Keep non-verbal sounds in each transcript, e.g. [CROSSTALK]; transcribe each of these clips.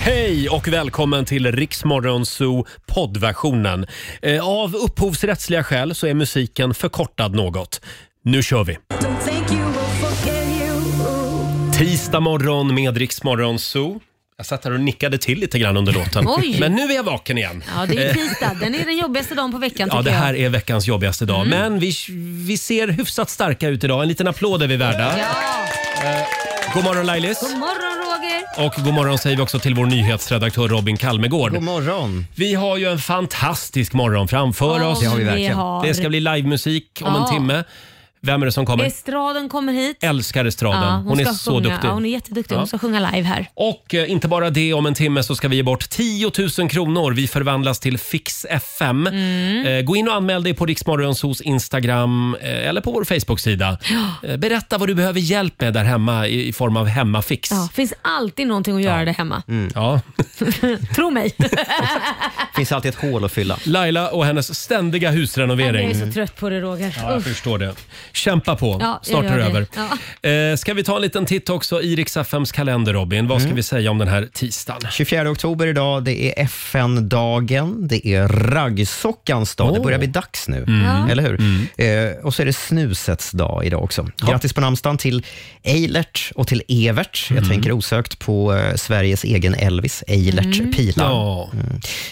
Hej och välkommen till Riksmorgon Zoo poddversionen. Eh, Av upphovsrättsliga skäl så är musiken förkortad något. Nu kör vi! Tisdag morgon med Riksmorgon Zoo. Jag satt här och nickade till lite grann under låten. [LAUGHS] Oj. Men nu är jag vaken igen. Ja, det är ju Eh, tisdag. Den är den jobbigaste dagen på veckan Ja, det tycker här jag. Mm. är veckans jobbigaste dag. Men vi, vi ser hyfsat starka ut idag. En liten applåd är vi värda. Eh, God morgon Lailis! God morgon Roger! Och god morgon säger vi också till vår nyhetsredaktör Robin Kalmegård. God morgon. Vi har ju en fantastisk morgon framför Ja, oss. Det har vi verkligen. vi har. Det ska bli livemusik om en Ja. timme. Vem är det som kommer? Estraden kommer hit. Älskar estraden. Ja, hon är ska så sjunga. duktig. Ja, hon är jätteduktig. Ja. Hon ska sjunga live här. Och eh, inte bara det, om en timme så ska vi ge bort 10 000 kronor. Vi förvandlas till Fix FM. Mm. Eh, Gå in och anmäl dig på Riksmorgonsos Instagram eh, eller på vår Facebook-sida. Eh, Berätta vad du behöver hjälp med där hemma i i form av hemmafix. Ja, finns alltid någonting att göra där hemma. [LAUGHS] Ja. Tro mig. Finns alltid ett hål att fylla. Laila och hennes ständiga Jag husrenovering. är så trött på det Roger. Ja, jag Usch. förstår det. Kämpa på. Ja, jag Snart är gör det det. över. Eh, ska vi ta en liten titt också i Rix FMs kalender, Robin? Vad ska Mm. vi säga om den här tisdagen? 24 oktober idag, det är FN-dagen, det är raggsockans dag. Det börjar bli dags nu, Mm. eller hur? Eh, och så är det snusets dag idag också. Grattis på namnsdagen till Eilert och till Evert. Mm. Jag tänker osökt på eh, Sveriges egen Elvis, Eilert Pilar. Ja. Mm.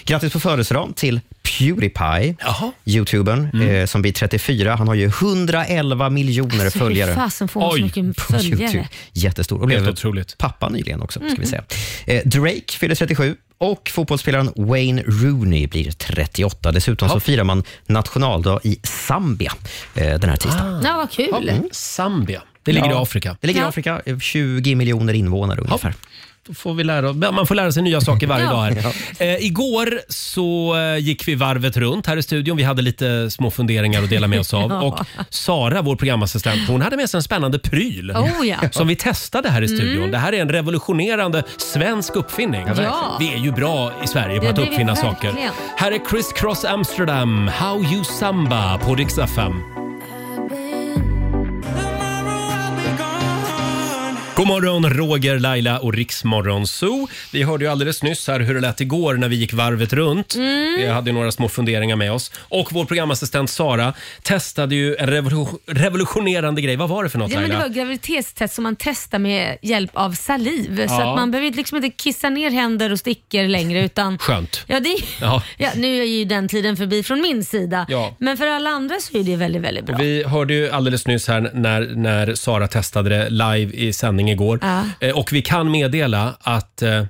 Grattis på födelsedagen till Pewdiepie, Jaha. Mm. youtubern eh, som blir 34. Han har ju 111 miljoner Alltså, hur följare. fasen får hon så Oj, mycket på följare? Mm. YouTube. Jättestor. Och Helt blev otroligt. pappa nyligen också. Ska vi säga. Eh, Drake fyller 37 och fotbollsspelaren Wayne Rooney blir 38. Dessutom så firar man nationaldag i Zambia eh, den här tisdagen. Ja, vad kul. Zambia. Ah. Det ligger Ja. i Afrika. Det ligger i Ja. Afrika, eh, 20 miljoner invånare ungefär. Då får vi lära, man får lära sig nya saker varje [LAUGHS] Ja. dag. Här. Eh, igår så eh, gick vi varvet runt här i studion. Vi hade lite små funderingar att dela med oss av. [LAUGHS] Ja. Och Sara, vår programassistent, hon hade med sig en spännande pryl. Oh, ja. Mm. Som vi testade här i studion. Det här är en revolutionerande svensk uppfinning. Ja. Vi är ju bra i Sverige på Ja, att det är vi uppfinna saker. verkligen. Här är Chris Cross Amsterdam, How You Samba på Rix FM. God morgon, Roger, Laila och Riksmorgon Zoo. Vi hörde ju alldeles nyss här hur det lät igår när vi gick varvet runt. Mm. Vi hade några små funderingar med oss. Och vår programassistent Sara testade ju en revolu- revolutionerande grej. Vad var det för något Ja, men det Laila? var graviditetstest som man testar med hjälp av saliv. Så Ja. att man behöver liksom inte kissa ner händer och stickor längre. Utan, Skönt. ja, det, Ja. ja. nu är ju den tiden förbi från min sida. Ja. Men för alla andra så är det väldigt, väldigt bra. Vi hörde ju alldeles nyss här när, när Sara testade det live i sändning igår. Ja. Eh, och vi kan meddela att eh,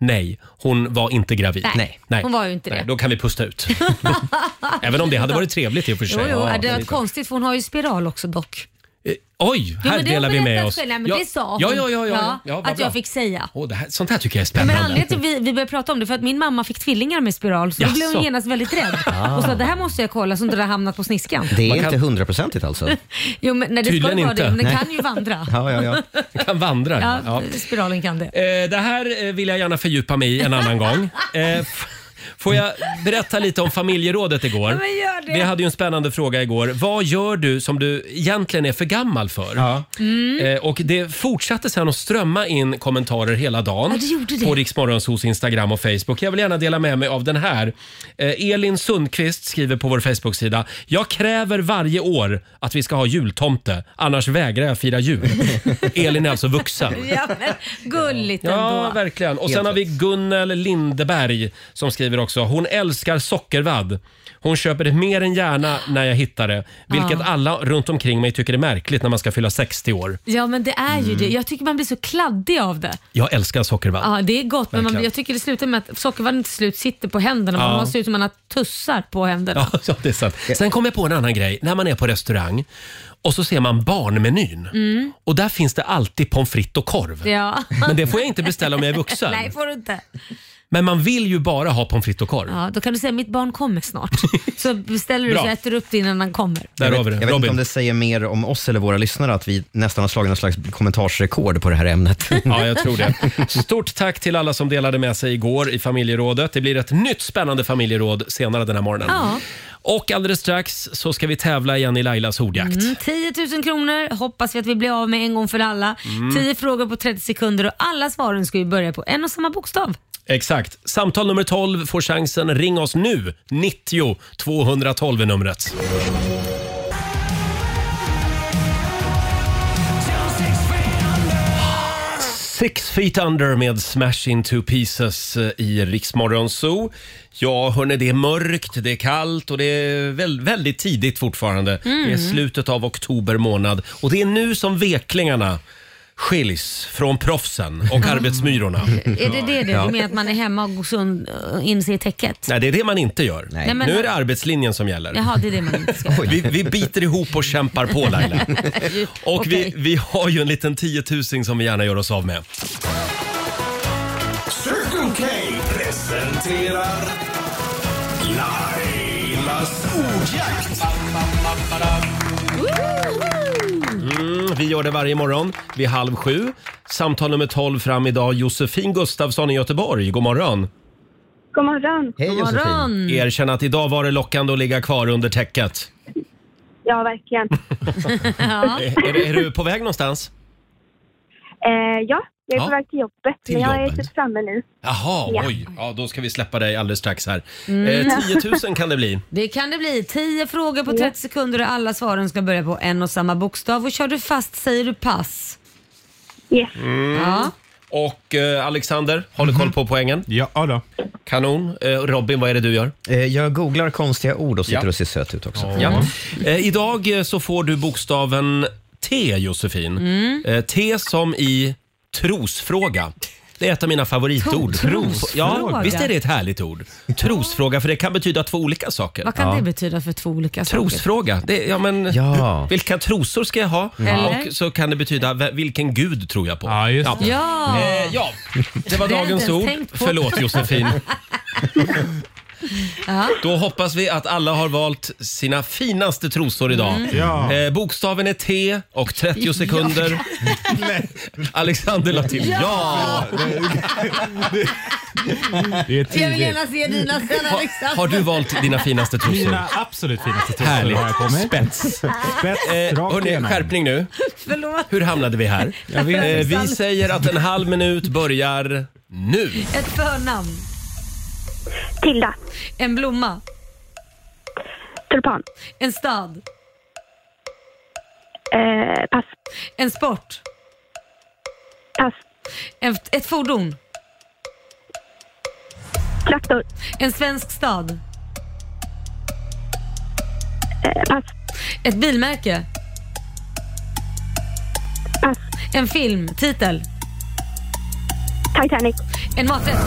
nej, hon var inte gravid. Nej, hon var ju inte det. Då kan vi pusta [LAUGHS] ut. Även om det hade varit trevligt i och för Jo, sig. jo, Ja, det var lite. konstigt för hon har ju spiral också dock. Eh, Oj, här Jo, men det har delar vi hon med berättat oss. själv. Nej, men ja, Det sa hon. ja, ja, ja, ja, ja. ja vad att bra. jag fick säga. Åh, det här, sånt här tycker jag är Ja, spännande. Men anledningen till att vi, vi började prata om det för att min mamma fick tvillingar med spiral så då blev Jaså? Ah. hon genast väldigt rädd och sa det här måste jag kolla så inte det har hamnat på sniskan. Det är Man kan- inte [LAUGHS] hundraprocentigt alltså. Jo, men, nej, det ska Tydligen ju vara inte. det, men det Nej. kan ju vandra. Ja, ja, ja. [LAUGHS] Det kan vandra. Ja, Ja. spiralen kan det. Eh, Det här eh, vill jag gärna fördjupa mig i en annan [LAUGHS] gång. Eh, f- Får jag berätta lite om familjerådet igår? Ja, men gör det. Vi hade ju en spännande fråga igår. Vad gör du som du egentligen är för gammal för? Mm. Eh, Och det fortsatte sen att strömma in kommentarer hela dagen. Ja, det gjorde det. På Riksmorgonsos Instagram och Facebook. Jag vill gärna dela med mig av den här. Eh, Elin Sundqvist skriver på vår Facebook-sida. Jag kräver varje år att vi ska ha jultomte, annars vägrar jag fira [LAUGHS] jul. Elin är alltså vuxen. Ja, men, gulligt Ja, ändå. verkligen. Och sen har vi Gunnel Lindeberg som skriver också. Hon älskar sockervadd. Hon köper det mer än gärna när jag hittar det. Vilket alla runt omkring mig tycker är märkligt när man ska fylla 60 år. Ja men det är ju det. Mm. Jag tycker man blir så kladdig av det. Jag älskar sockervadd. Ja det är gott men man, Verkligen. blir- jag tycker det slutar med att sockervadden till slut sitter på händerna. Ja. Man ser ut som man har tussar på händerna. [LAUGHS] Ja, ja, det är sant. Sen kom jag på en annan grej. När man är på restaurang och så ser man barnmenyn. Och där finns det alltid pommes frites och korv. Mm. Ja. Men det får jag inte beställa om jag är vuxen. [LAUGHS] Nej får du inte. Men man vill ju bara ha pommes frites och korv. Ja, då kan du säga mitt barn [LAUGHS] kommer snart. Så beställer du Bra. så äter du upp det innan han kommer. Där jag har vi vet, det. jag vet inte om Robin. det säger mer om oss eller våra lyssnare att vi nästan har slagit något slags kommentarsrekord på det här ämnet. Ja, [LAUGHS] jag tror det. Stort tack till alla som delade med sig igår i familjerådet. Det blir ett nytt spännande familjeråd senare den här morgonen. Ja. Och alldeles strax så ska vi tävla igen i Lailas ordjakt. Mm, 10 000 kronor hoppas vi att vi blir Mm. av med en gång för alla. 10 frågor på 30 sekunder och alla svaren ska ju börja på en och samma bokstav. Exakt. Samtal nummer 12 får chansen. Ring oss nu. 90 212 är numret. Six feet under med Smash into pieces eh, i Riksmorgon Zoo. Ja, hörni, det är mörkt, det är kallt och det är väl, väldigt tidigt fortfarande. Det är Mm. slutet av oktober månad och det är nu som veklingarna skiljs från proffsen och arbetsmyrorna. Är det det du menar, att man är hemma och går sund- in sig i täcket? Nej, det är det man inte gör. Nej, men- nu är det arbetslinjen som gäller. Jaha, det är det man inte ska göra. Vi, vi biter ihop och kämpar på [LAUGHS] Laila. Och Okej. vi, vi har ju en liten tiotusing som vi gärna gör oss av med. Circle K presenterar Lailas ordjakt. Mm, vi gör det varje morgon vid halv sju. Samtal nummer 12 fram idag. Josefin Gustafsson i Göteborg, god morgon. God morgon. Hej Josefin. Morgon! Erkänn att idag var det lockande att ligga kvar under täcket. [LAUGHS] Ja, verkligen. Ah. Eh, Är, är, är du på väg någonstans? Eh, ja, jag är Ja. på väg till jobbet. Till men jag jobbet. är typ framme nu. Jaha, Ja. oj. Ja, då ska vi släppa dig alldeles strax här. Mm. Eh, 10 000 kan det bli. Det kan det bli. 10 frågor på 30 sekunder och alla svaren ska börja på en och samma bokstav. Och kör du fast säger du pass. Yes. Ja. Mm. Och eh, Alexander, håller koll på poängen. Mhm. Ja, ja då. Kanon. Eh, Robin, vad är det du gör? [LAUGHS] Eh, Jag googlar konstiga ord och sitter Ja. och ser söt ut också. Ja. Eh, idag eh, så får du bokstaven T, Josefin. Mm. Eh, T som i trosfråga. Det är ett av mina favoritord. Trosfråga? Ja, visst är det ett härligt ord? Trosfråga, för det kan betyda två olika saker. Vad kan det betyda för två olika saker? Trosfråga. Det, är- ja, men, Ja. [LAUGHS] Vilka trosor ska jag ha? Eller? Och så kan det betyda v- vilken gud tror jag på. Ja, just det. Ja! Eh, ja, det var Det hade dagens jag inte ord. ens tänkt på. Förlåt [LAUGHS] Josefin. Då hoppas vi att alla har valt sina finaste trosor idag. Mm. Ja. Eh, bokstaven är T och 30 [LAUGHS] sekunder. Alexander la till ja. Det är Jag vill tidigt. gärna se dina liksom. sen Ha, Alexander. har du valt dina finaste trosor? Mina absolut finaste trosor Härligt. har jag på mig. Spets. Spets, Eh, rakt hörni, igenom. skärpning nu. [LAUGHS] Förlåt. Hur hamnade vi här? Jag vet Eh, inte. vi säger att en halv minut börjar nu. Ett förnamn. Tilda. En blomma. Tulpan. En stad. Eh, pass. En sport. Pass. En, ett fordon. Traktor. En svensk stad. Eh, pass. Ett bilmärke. Pass. En film. Titel. Titanic. En maträtt.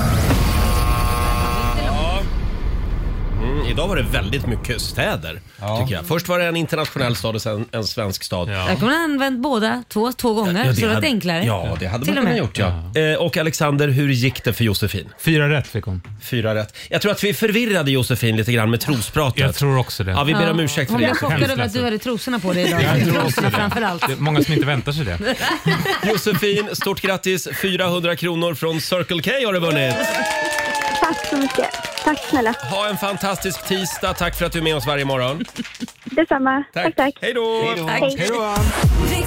Mm, idag var det väldigt mycket städer. Tycker jag. Först var det en internationell stad och sen en svensk stad. Ja. Jag kommer använt båda två, två gånger, så det var hade- enklare. Ja, det hade Till man och kunnat med. gjort. Ja. Eh, och Alexander, hur gick det för Josefin? Fyra rätt fick hon. Fyra rätt. Jag tror att vi förvirrade Josefin lite grann med trospratet. Jag tror också det. Ja, vi ber om Ja. ursäkt för Hon det. blev chockad Hemskt över att ledsen. du hade trosorna på dig idag. Jag tror också trosorna det. framför allt. Det är många som inte väntar sig det. [LAUGHS] Josefin, stort grattis! 400 kronor från Circle K har du vunnit. Tack så mycket. Tack snälla. Ha en fantastisk tisdag. Tack för att du är med oss varje morgon. Detsamma. Tack, tack. Hej då! Hej.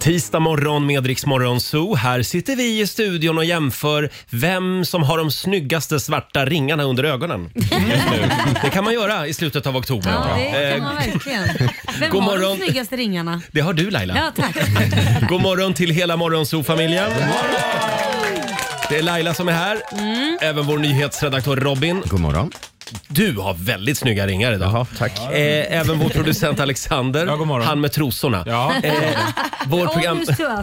Tisdag morgon med Rix Morgon Zoo. Här sitter vi i studion och jämför vem som har de snyggaste svarta ringarna under ögonen. just nu. Det kan man göra i slutet av oktober. Ja, det Eh, kan man verkligen. [LAUGHS] Vem god har morgon. de snyggaste ringarna? det har du Laila. Ja, tack. God morgon till hela Morgonzoo-familjen. Det är Laila som är här, Mm. även vår nyhetsredaktör Robin. God morgon. Du har väldigt snygga ringar idag. Jaha, tack. Eh, även vår producent Alexander, Ja, god morgon. han med trosorna. Ja. [LAUGHS] Eh, vår, Program... program,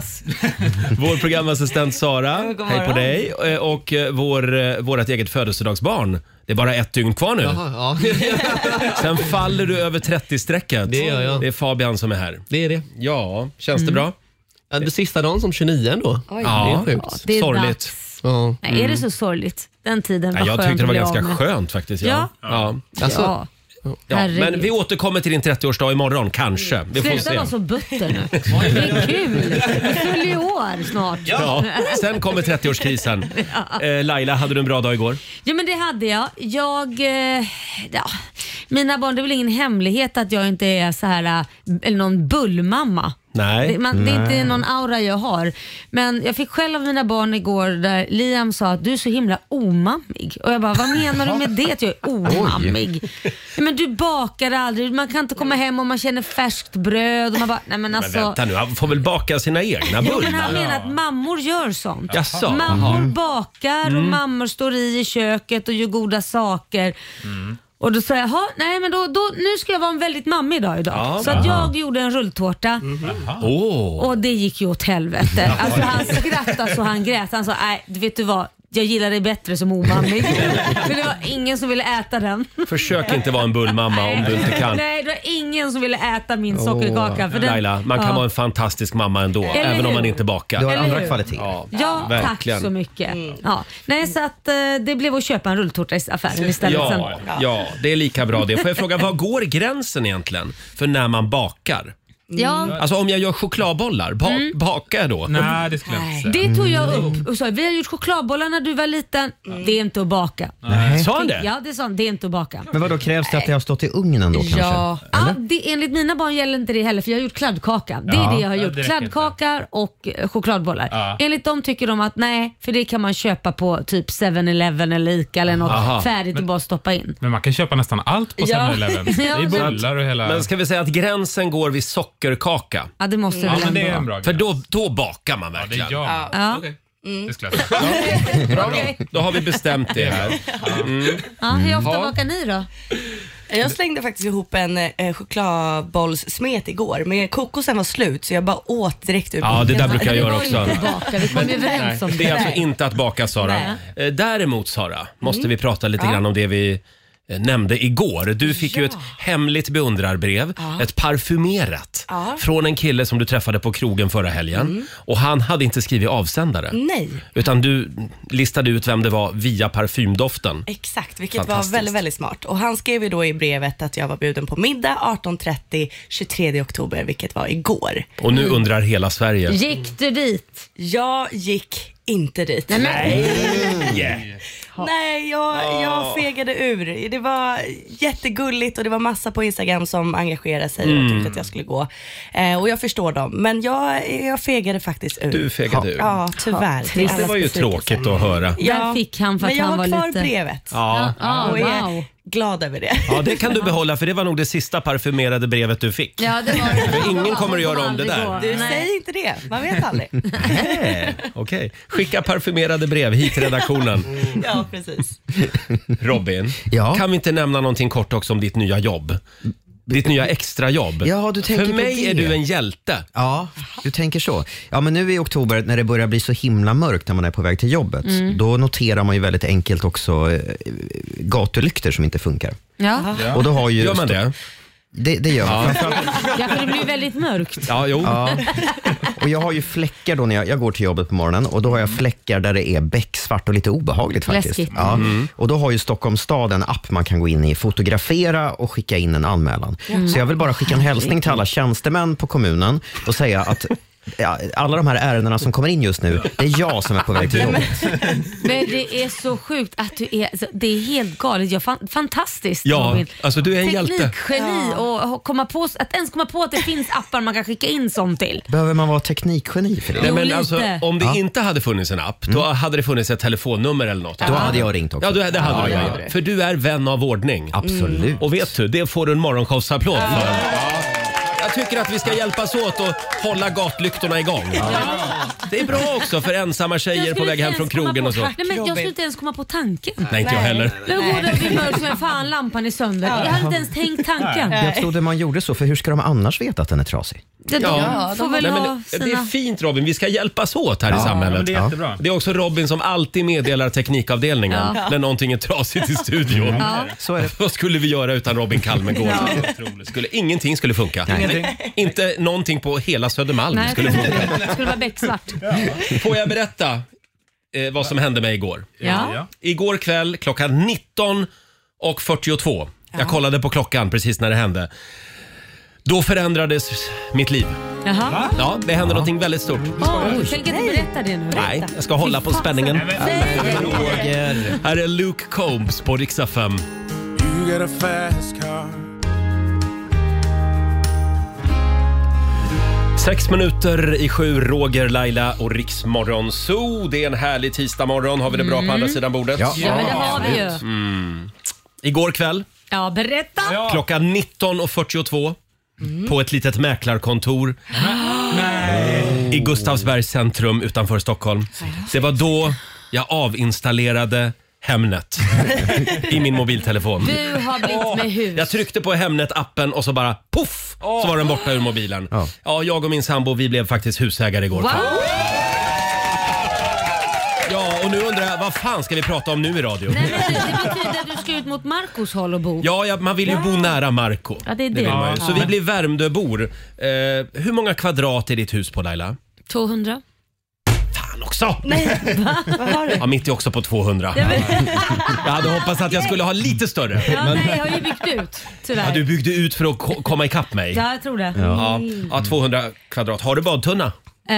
vår programassistent Sara, God hej på morgon. dig. Eh, Och eh, vår, eh, vårt eget födelsedagsbarn. Det är bara ett dygn kvar nu. Ja, [LAUGHS] [LAUGHS] Sen faller du över 30-strecket. Det gör jag. Det är Fabian som är här. det är det. Mm. Ja, känns det bra? Ja, Det är sista dagen som 29 ändå. Ja, det är sjukt. Det är Sorgligt. dags. Ja. Nej, är det så sorgligt? Den tiden Nej, var jag skön tyckte det att var bli ganska av med. skönt faktiskt. Ja. Ja. Alltså, Ja. Ja. Herregud. Men vi återkommer till din 30-årsdag imorgon, kanske. Vi får Sluta se. vara så [LAUGHS] butter nu. Det är kul. Du fyller ju år snart. Ja. Sen kommer [LAUGHS] 30-årskrisen. Eh, Laila, hade du en bra dag igår? Ja men det hade jag. Jag, eh, ja, mina barn, det är väl ingen hemlighet att jag inte är så här, eh, eller någon bullmamma. Nej. Det, man, det är inte någon aura jag har. Men jag fick själv av mina barn igår där Liam sa att du är så himla omammig. Och jag bara, vad menar du med [LAUGHS] det att jag är omammig? Men du bakar aldrig, man kan inte komma hem om man känner färskt bröd. Och man bara, nej men Men alltså. vänta nu, han får väl baka sina egna Jo, men han bullar? menar att mammor gör sånt. Jaså? Mm. Mammor bakar och mammor står i i köket och gör goda saker. Mm. Och då sa jag, "Jaha, nej men då, då, nu ska jag vara en väldigt mammig dag idag. Ja, Mm-hmm. så att jag gjorde en rulltårta Åh, och det gick ju åt helvete. Alltså han skrattade så han grät. Han sa, nej vet du vad, jag gillar dig bättre [LAUGHS] som omammig. För det var ingen som ville äta den. försök inte vara en bullmamma om du inte kan. Nej, det var ingen som ville äta min sockerkaka. För den, Laila, man kan Ja. vara en fantastisk mamma ändå, Eller även om hur? man inte Du har bakar. Eller andra hur? kvaliteter. Ja. Ja, Verkligen. tack så mycket. Ja. Nej, så att eh, det blev att köpa en rulltårta i affären istället. Ja, Sen. ja, det är lika bra det. Får jag fråga, var går gränsen egentligen för när man bakar? Ja. Alltså om jag gör chokladbollar, ba- bakar jag då? Nej, det skulle jag inte säga. mm. Mm. Mm. Det tog jag upp och sa vi har gjort chokladbollar när du var liten. Det är inte att baka. Sa han det? Ja, det sa han. Det är inte att baka. Men vad då krävs det att det har stått i ugnen då kanske? Ja, ah, det, enligt mina barn gäller inte det heller för jag har gjort kladdkaka. Det är det jag har Ja, gjort. det räcker Kladdkakor och eh, chokladbollar. Ja. Enligt dem tycker de att nej, för det kan man köpa på typ 7-Eleven eller Ica eller något Aha. färdigt och bara stoppa in. Men man kan köpa nästan allt på Ja. 7-Eleven. Det [LAUGHS] Ja, är bullar och hela... Men ska vi säga att gränsen går vid sockerkaka? Ja, det måste Ja, väl men det ändå är vara. en bra För grej. då, då bakar man Ja, det verkligen. är jag. Ja. Mm. Det skulle [LAUGHS] jag säga. Okej. Då har vi bestämt det här. Ja, hur Mm. ofta bakar ni då? Jag slängde faktiskt ihop en eh, chokladbollssmet igår, men kokosen var slut så jag bara åt direkt ur Ja, det där brukar jag göra var också. inte baka, vi kom ju överens om Mm. Det är alltså inte att baka Sara. Eh, Däremot Sara, måste vi prata lite grann om det vi eh, nämnde igår. Du fick ju ett hemligt beundrarbrev, ett parfymerat, Ja. från en kille som du träffade på krogen förra helgen. Mm. Och han hade inte skrivit avsändare. Nej, Utan du listade ut vem det var via parfymdoften. exakt, vilket var Fantastiskt. väldigt, väldigt smart. Och han skrev ju då i brevet att jag var bjuden på middag 18.30 23 oktober, vilket var igår. Och nu undrar hela Sverige. Mm. Gick du dit? Jag gick inte dit. Nej, men, Nej, jag, Ah. jag fegade ur. Det var jättegulligt och det var massa på Instagram som engagerade sig Mm. och tyckte att jag skulle gå. Eh, och jag förstår dem, men jag, jag fegade faktiskt ur. Du fegade ur. Ja, tyvärr. Till Det allas var ju besvikelse. tråkigt att höra. Där fick han för att men jag han har var kvar lite- brevet. Ja. ja, Och är wow. glad över det. Ja, det kan du behålla för det var nog det sista parfymerade brevet du fick. Ja, det var det. Ingen kommer att göra om aldrig det där. gå. Du, Nej. säg inte det. Man vet aldrig. Nej, Okej. Skicka parfymerade brev hit till [LAUGHS] redaktionen. Mm. ja, precis. Robin, Ja? kan vi inte nämna någonting kort också om ditt nya jobb? Ditt nya extrajobb. Ja, du tänker För på mig det. är du en hjälte. Ja, du tänker så. Ja, men nu i oktober när det börjar bli så himla mörkt när man är på väg till jobbet, Mm. då noterar man ju väldigt enkelt också eh, gatulyktor som inte funkar. Ja. Och då har ju Gör man det? Det, det gör man. Framförallt- ja, för det blir väldigt mörkt. Ja, jo. Ja. Och jag har ju fläckar då när jag, jag går till jobbet på morgonen och då har jag Mm. fläckar där det är becksvart och lite obehagligt faktiskt. Läskigt. Ja. Mm. Och då har ju Stockholms stad en app man kan gå in i, fotografera och skicka in en anmälan. Så jag vill bara skicka en hälsning till alla tjänstemän på kommunen och säga att Ja, alla de här ärendena som kommer in just nu, det är jag som är på väg till jobbet. Men det är så sjukt att du är, alltså, det är helt galet. Jag, fan, fantastiskt Ja, Robin. alltså du är en hjälte. Teknikgeni och komma på, att ens komma på att det finns appar man kan skicka in sånt till. Behöver man vara teknikgeni för Nej, det? Jo, men lite. alltså, om det Ja. Mm. inte hade funnits en app, då hade det funnits ett telefonnummer eller något. Då hade jag ringt också. Ja, du, det hade du. Ja, Ja, ja, ja. För du är vän av ordning. Absolut. Och vet du, det får du en morgonshowsapplåd för. Jag tycker att vi ska hjälpas åt att hålla gatlyktorna igång. Det är bra också för ensamma Jag tjejer på skulle väg inte hem ens från komma krogen på- och så. Nej, men jag skulle inte ens komma på tanken. Nej, inte jag heller. Nu går det vid mörkt men fan lampan är sönder. Jag hade inte ens tänkt alltså- tanken. Jag trodde man gjorde så, för hur ska de annars veta att den är trasig? Det, de Ja. får väl Nej, ha men sina... det är fint Robin, vi ska hjälpas åt här i samhället. Men det är jättebra. Det är också Robin som alltid meddelar teknikavdelningen när någonting är trasigt i studion. Så är [LAUGHS] det. Vad skulle vi göra utan Robin Kalmegård? Skulle, ingenting skulle funka. Inte någonting på hela Södermalm Nej, skulle funka. det skulle vara becksvart. Får jag berätta eh, vad som hände mig igår? Ja. Igår kväll klockan 19.42. Jag kollade på klockan precis när det hände. Då förändrades mitt liv. Jaha. Ja, det hände någonting väldigt stort. Oh, tänk att berätta det nu. Nej, jag ska hålla på spänningen. Nej. Här är Luke Combs på riksdag 5. You got a fast car. Sex minuter i sju, Roger, Laila och Riksmorgon Zoo. Det är en härlig tisdagmorgon. Har vi det bra på andra sidan bordet? Ja. Ja, men det har vi ju. Mm. Igår kväll Ja, Mm. berätta. klockan 19.42 på ett litet mäklarkontor i Gustavsbergs centrum utanför Stockholm. Det var då jag avinstallerade [LAUGHS] Hemnet i min mobiltelefon. Du har blivit med hus. Jag tryckte på Hemnet-appen och så bara poff så var den borta ur mobilen. Ja. jag och min sambo vi blev faktiskt husägare igår. Wow! Ja, och nu undrar jag vad fan ska vi prata om nu i radio? Nej, men det, det betyder att du ska ut mot Marcos håll och bo. Ja, ja, man vill ju bo nära Marco. Ja, det är det. vill man ju. Ja. Så vi blir Värmdöbor. Eh, hur många kvadrat är ditt hus på Laila? 200. Fan också! [LAUGHS] Nej, vad har du? Ja, mitt är också på 200. Jag hade hoppats att jag skulle ha lite större. Ja, nej, jag har ju byggt ut tyvärr. Ja, Ja, du byggde ut för att ko- komma ikapp mig. jag tror det. Mm. Ja, ja, 200 kvadrat. Har du badtunna? Eh,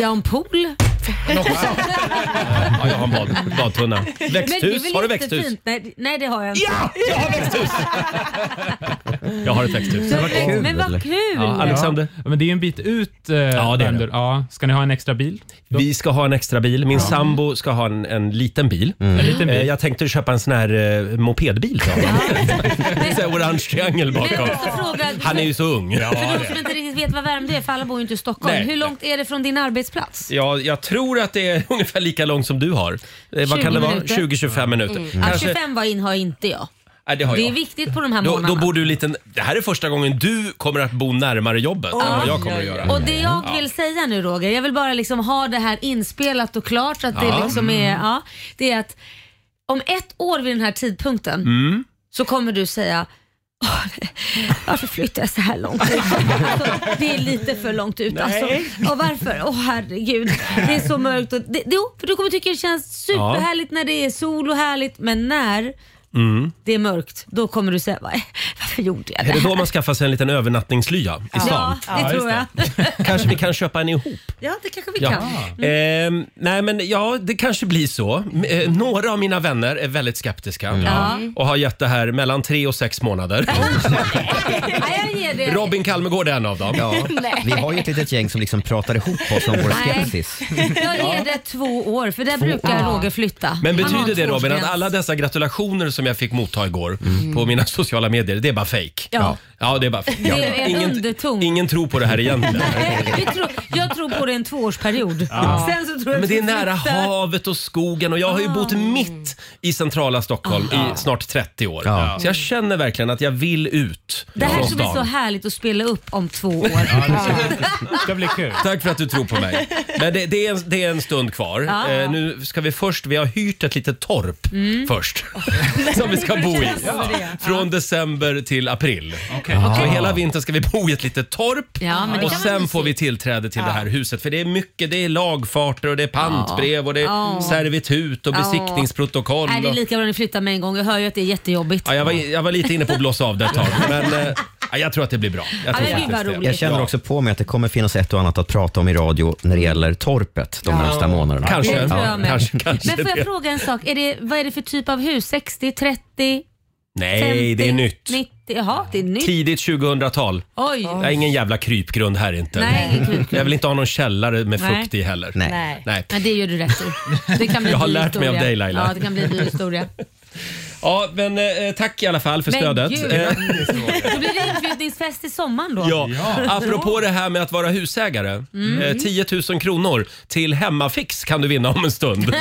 jag har [LAUGHS] en pool. Ja, jag har en bad, badtunna. Men det är Växthus? väl Har du jättefint? växthus? Nej, nej, det har jag inte. Ja, jag har växthus! Jag har ett växthus. men, men vad kul! Ja, Alexander? Ja, men det är ju en bit ut. Eh, Ja, det är Bender. det. Ja, ska ni ha en extra bil? Vi ska ha en extra bil. Min sambo ska ha en, en liten bil. Mm. En liten Eh, bil. Jag tänkte köpa en sån här eh, mopedbil. till honom. [LAUGHS] En sån här orange triangel Men jag bakom. måste fråga, Han är ju så ung. för de som inte riktigt vet vad Värmdö är, för alla bor ju inte i Stockholm. Nej. Hur långt är det från din arbetsplats? Ja, jag tror att det är [LAUGHS] ungefär lika långt som du har. Eh, Vad 20 kan det vara? minuter. 20-25 minuter. Ja, Mm. Kanske, 25 Mm. var in har inte jag. nej, det har Det är jag. viktigt på de här Då, månaderna. då bor du lite... Det här är första gången du kommer att bo närmare jobbet än vad jag kommer att göra. Mm. Och det jag vill säga nu Roger, jag vill bara liksom ha det här inspelat och klart att det Ja. Mm. liksom är, ja, det är att om ett år vid den här tidpunkten Mm. så kommer du säga "Åh, det- varför flyttar jag så här långt ut? Alltså, det är lite för långt ut alltså. Och varför? Åh herregud, det är så mörkt. Och det, jo, för du kommer tycka det känns superhärligt när det är sol och härligt, men när det är mörkt, då kommer du säga "Vad- varför gjorde jag det? Mm. Är det här?" då man skaffar sig en liten övernattningslya i Ja, stan? det tror jag. Kanske vi kan köpa en ihop? Ja, det kanske vi Ja. kan. Ehm, nej men ja, det kanske blir så. M- eh, några av mina vänner är väldigt skeptiska Ja. och har gett det här mellan tre och sex månader. Nej, jag ger det. Robin Kalmegård är en av dem. [LAUGHS] Ja, vi har ju ett litet gäng som liksom pratar ihop oss om vår Nej. skepsis. Jag ger det två år, för där brukar Roger flytta. Men Han har betyder en det Robin att tvåårsgräns. alla dessa gratulationer som jag fick motta igår på mina [LAUGHS] sociala medier, det är bara fake? Mm. Ja. ja det är bara fake. Det är en underton. ingen tror på det här [LAUGHS] egentligen. Nej, vi tror, jag tror på det en tvåårsperiod. Sen så tror jag Men att det är vi Ah. nära flyttar. havet och skogen och jag har ju bott mitt i centrala Stockholm Ah. i snart 30 år. Ja. Så jag känner verkligen att jag vill ut Det här från ska bli så stan. härligt att spela upp om två år. Det ska bli kul. Tack för att du tror på mig. Men det, det, är, en, det är en stund kvar. Ah. Eh, nu ska vi först, vi har hyrt ett litet torp Mm. [LAUGHS] först. som vi ska bo i. Från december till april. Så hela vintern ska vi bo i ett litet torp. Ja, men det och kan sen vara får vi tillträde till det här huset. För det är mycket, det är lagfarter och det är pantbrev och det är servitut och besiktningsprotokoll. Nej, det är och- lika bra ni flyttar med en gång. Jag hör ju att det är jättejobbigt. Ja, jag, var, jag var lite inne på att blåsa av det ett tag. Men eh, ja, jag tror att det blir bra. Jag tror men gud, vad faktiskt roligt. det. Jag känner också på mig att det kommer finnas ett och annat att prata om i radio när det Mm. gäller torpet de närmsta månaderna. Kanske. Det tror jag med. kanske, kanske Men får det. jag fråga en sak? Är det, vad är det för typ av hus? 60, 30, 50? Nej, det är nytt. 90? Jaha, det är nytt. Tidigt 2000-tal. Oj. Jag är ingen jävla krypgrund här inte. Nej, ingen krypgrund. Jag vill inte ha någon källare med Nej. fukt i heller. Nej. Nej. Nej. Ja, det gör du rätt i. Det kan bli Jag har dyr lärt mig av historia. dig, Laila. Ja, det kan bli en dyr historia. Ja, men eh, tack i alla fall för Men stödet. gud. Eh, Då blir det inflyttningsfest i sommaren då. [LAUGHS] ja. Apropå det här med att vara husägare. Mm. Eh, 10 000 kronor till Hemmafix kan du vinna om en [LAUGHS] stund.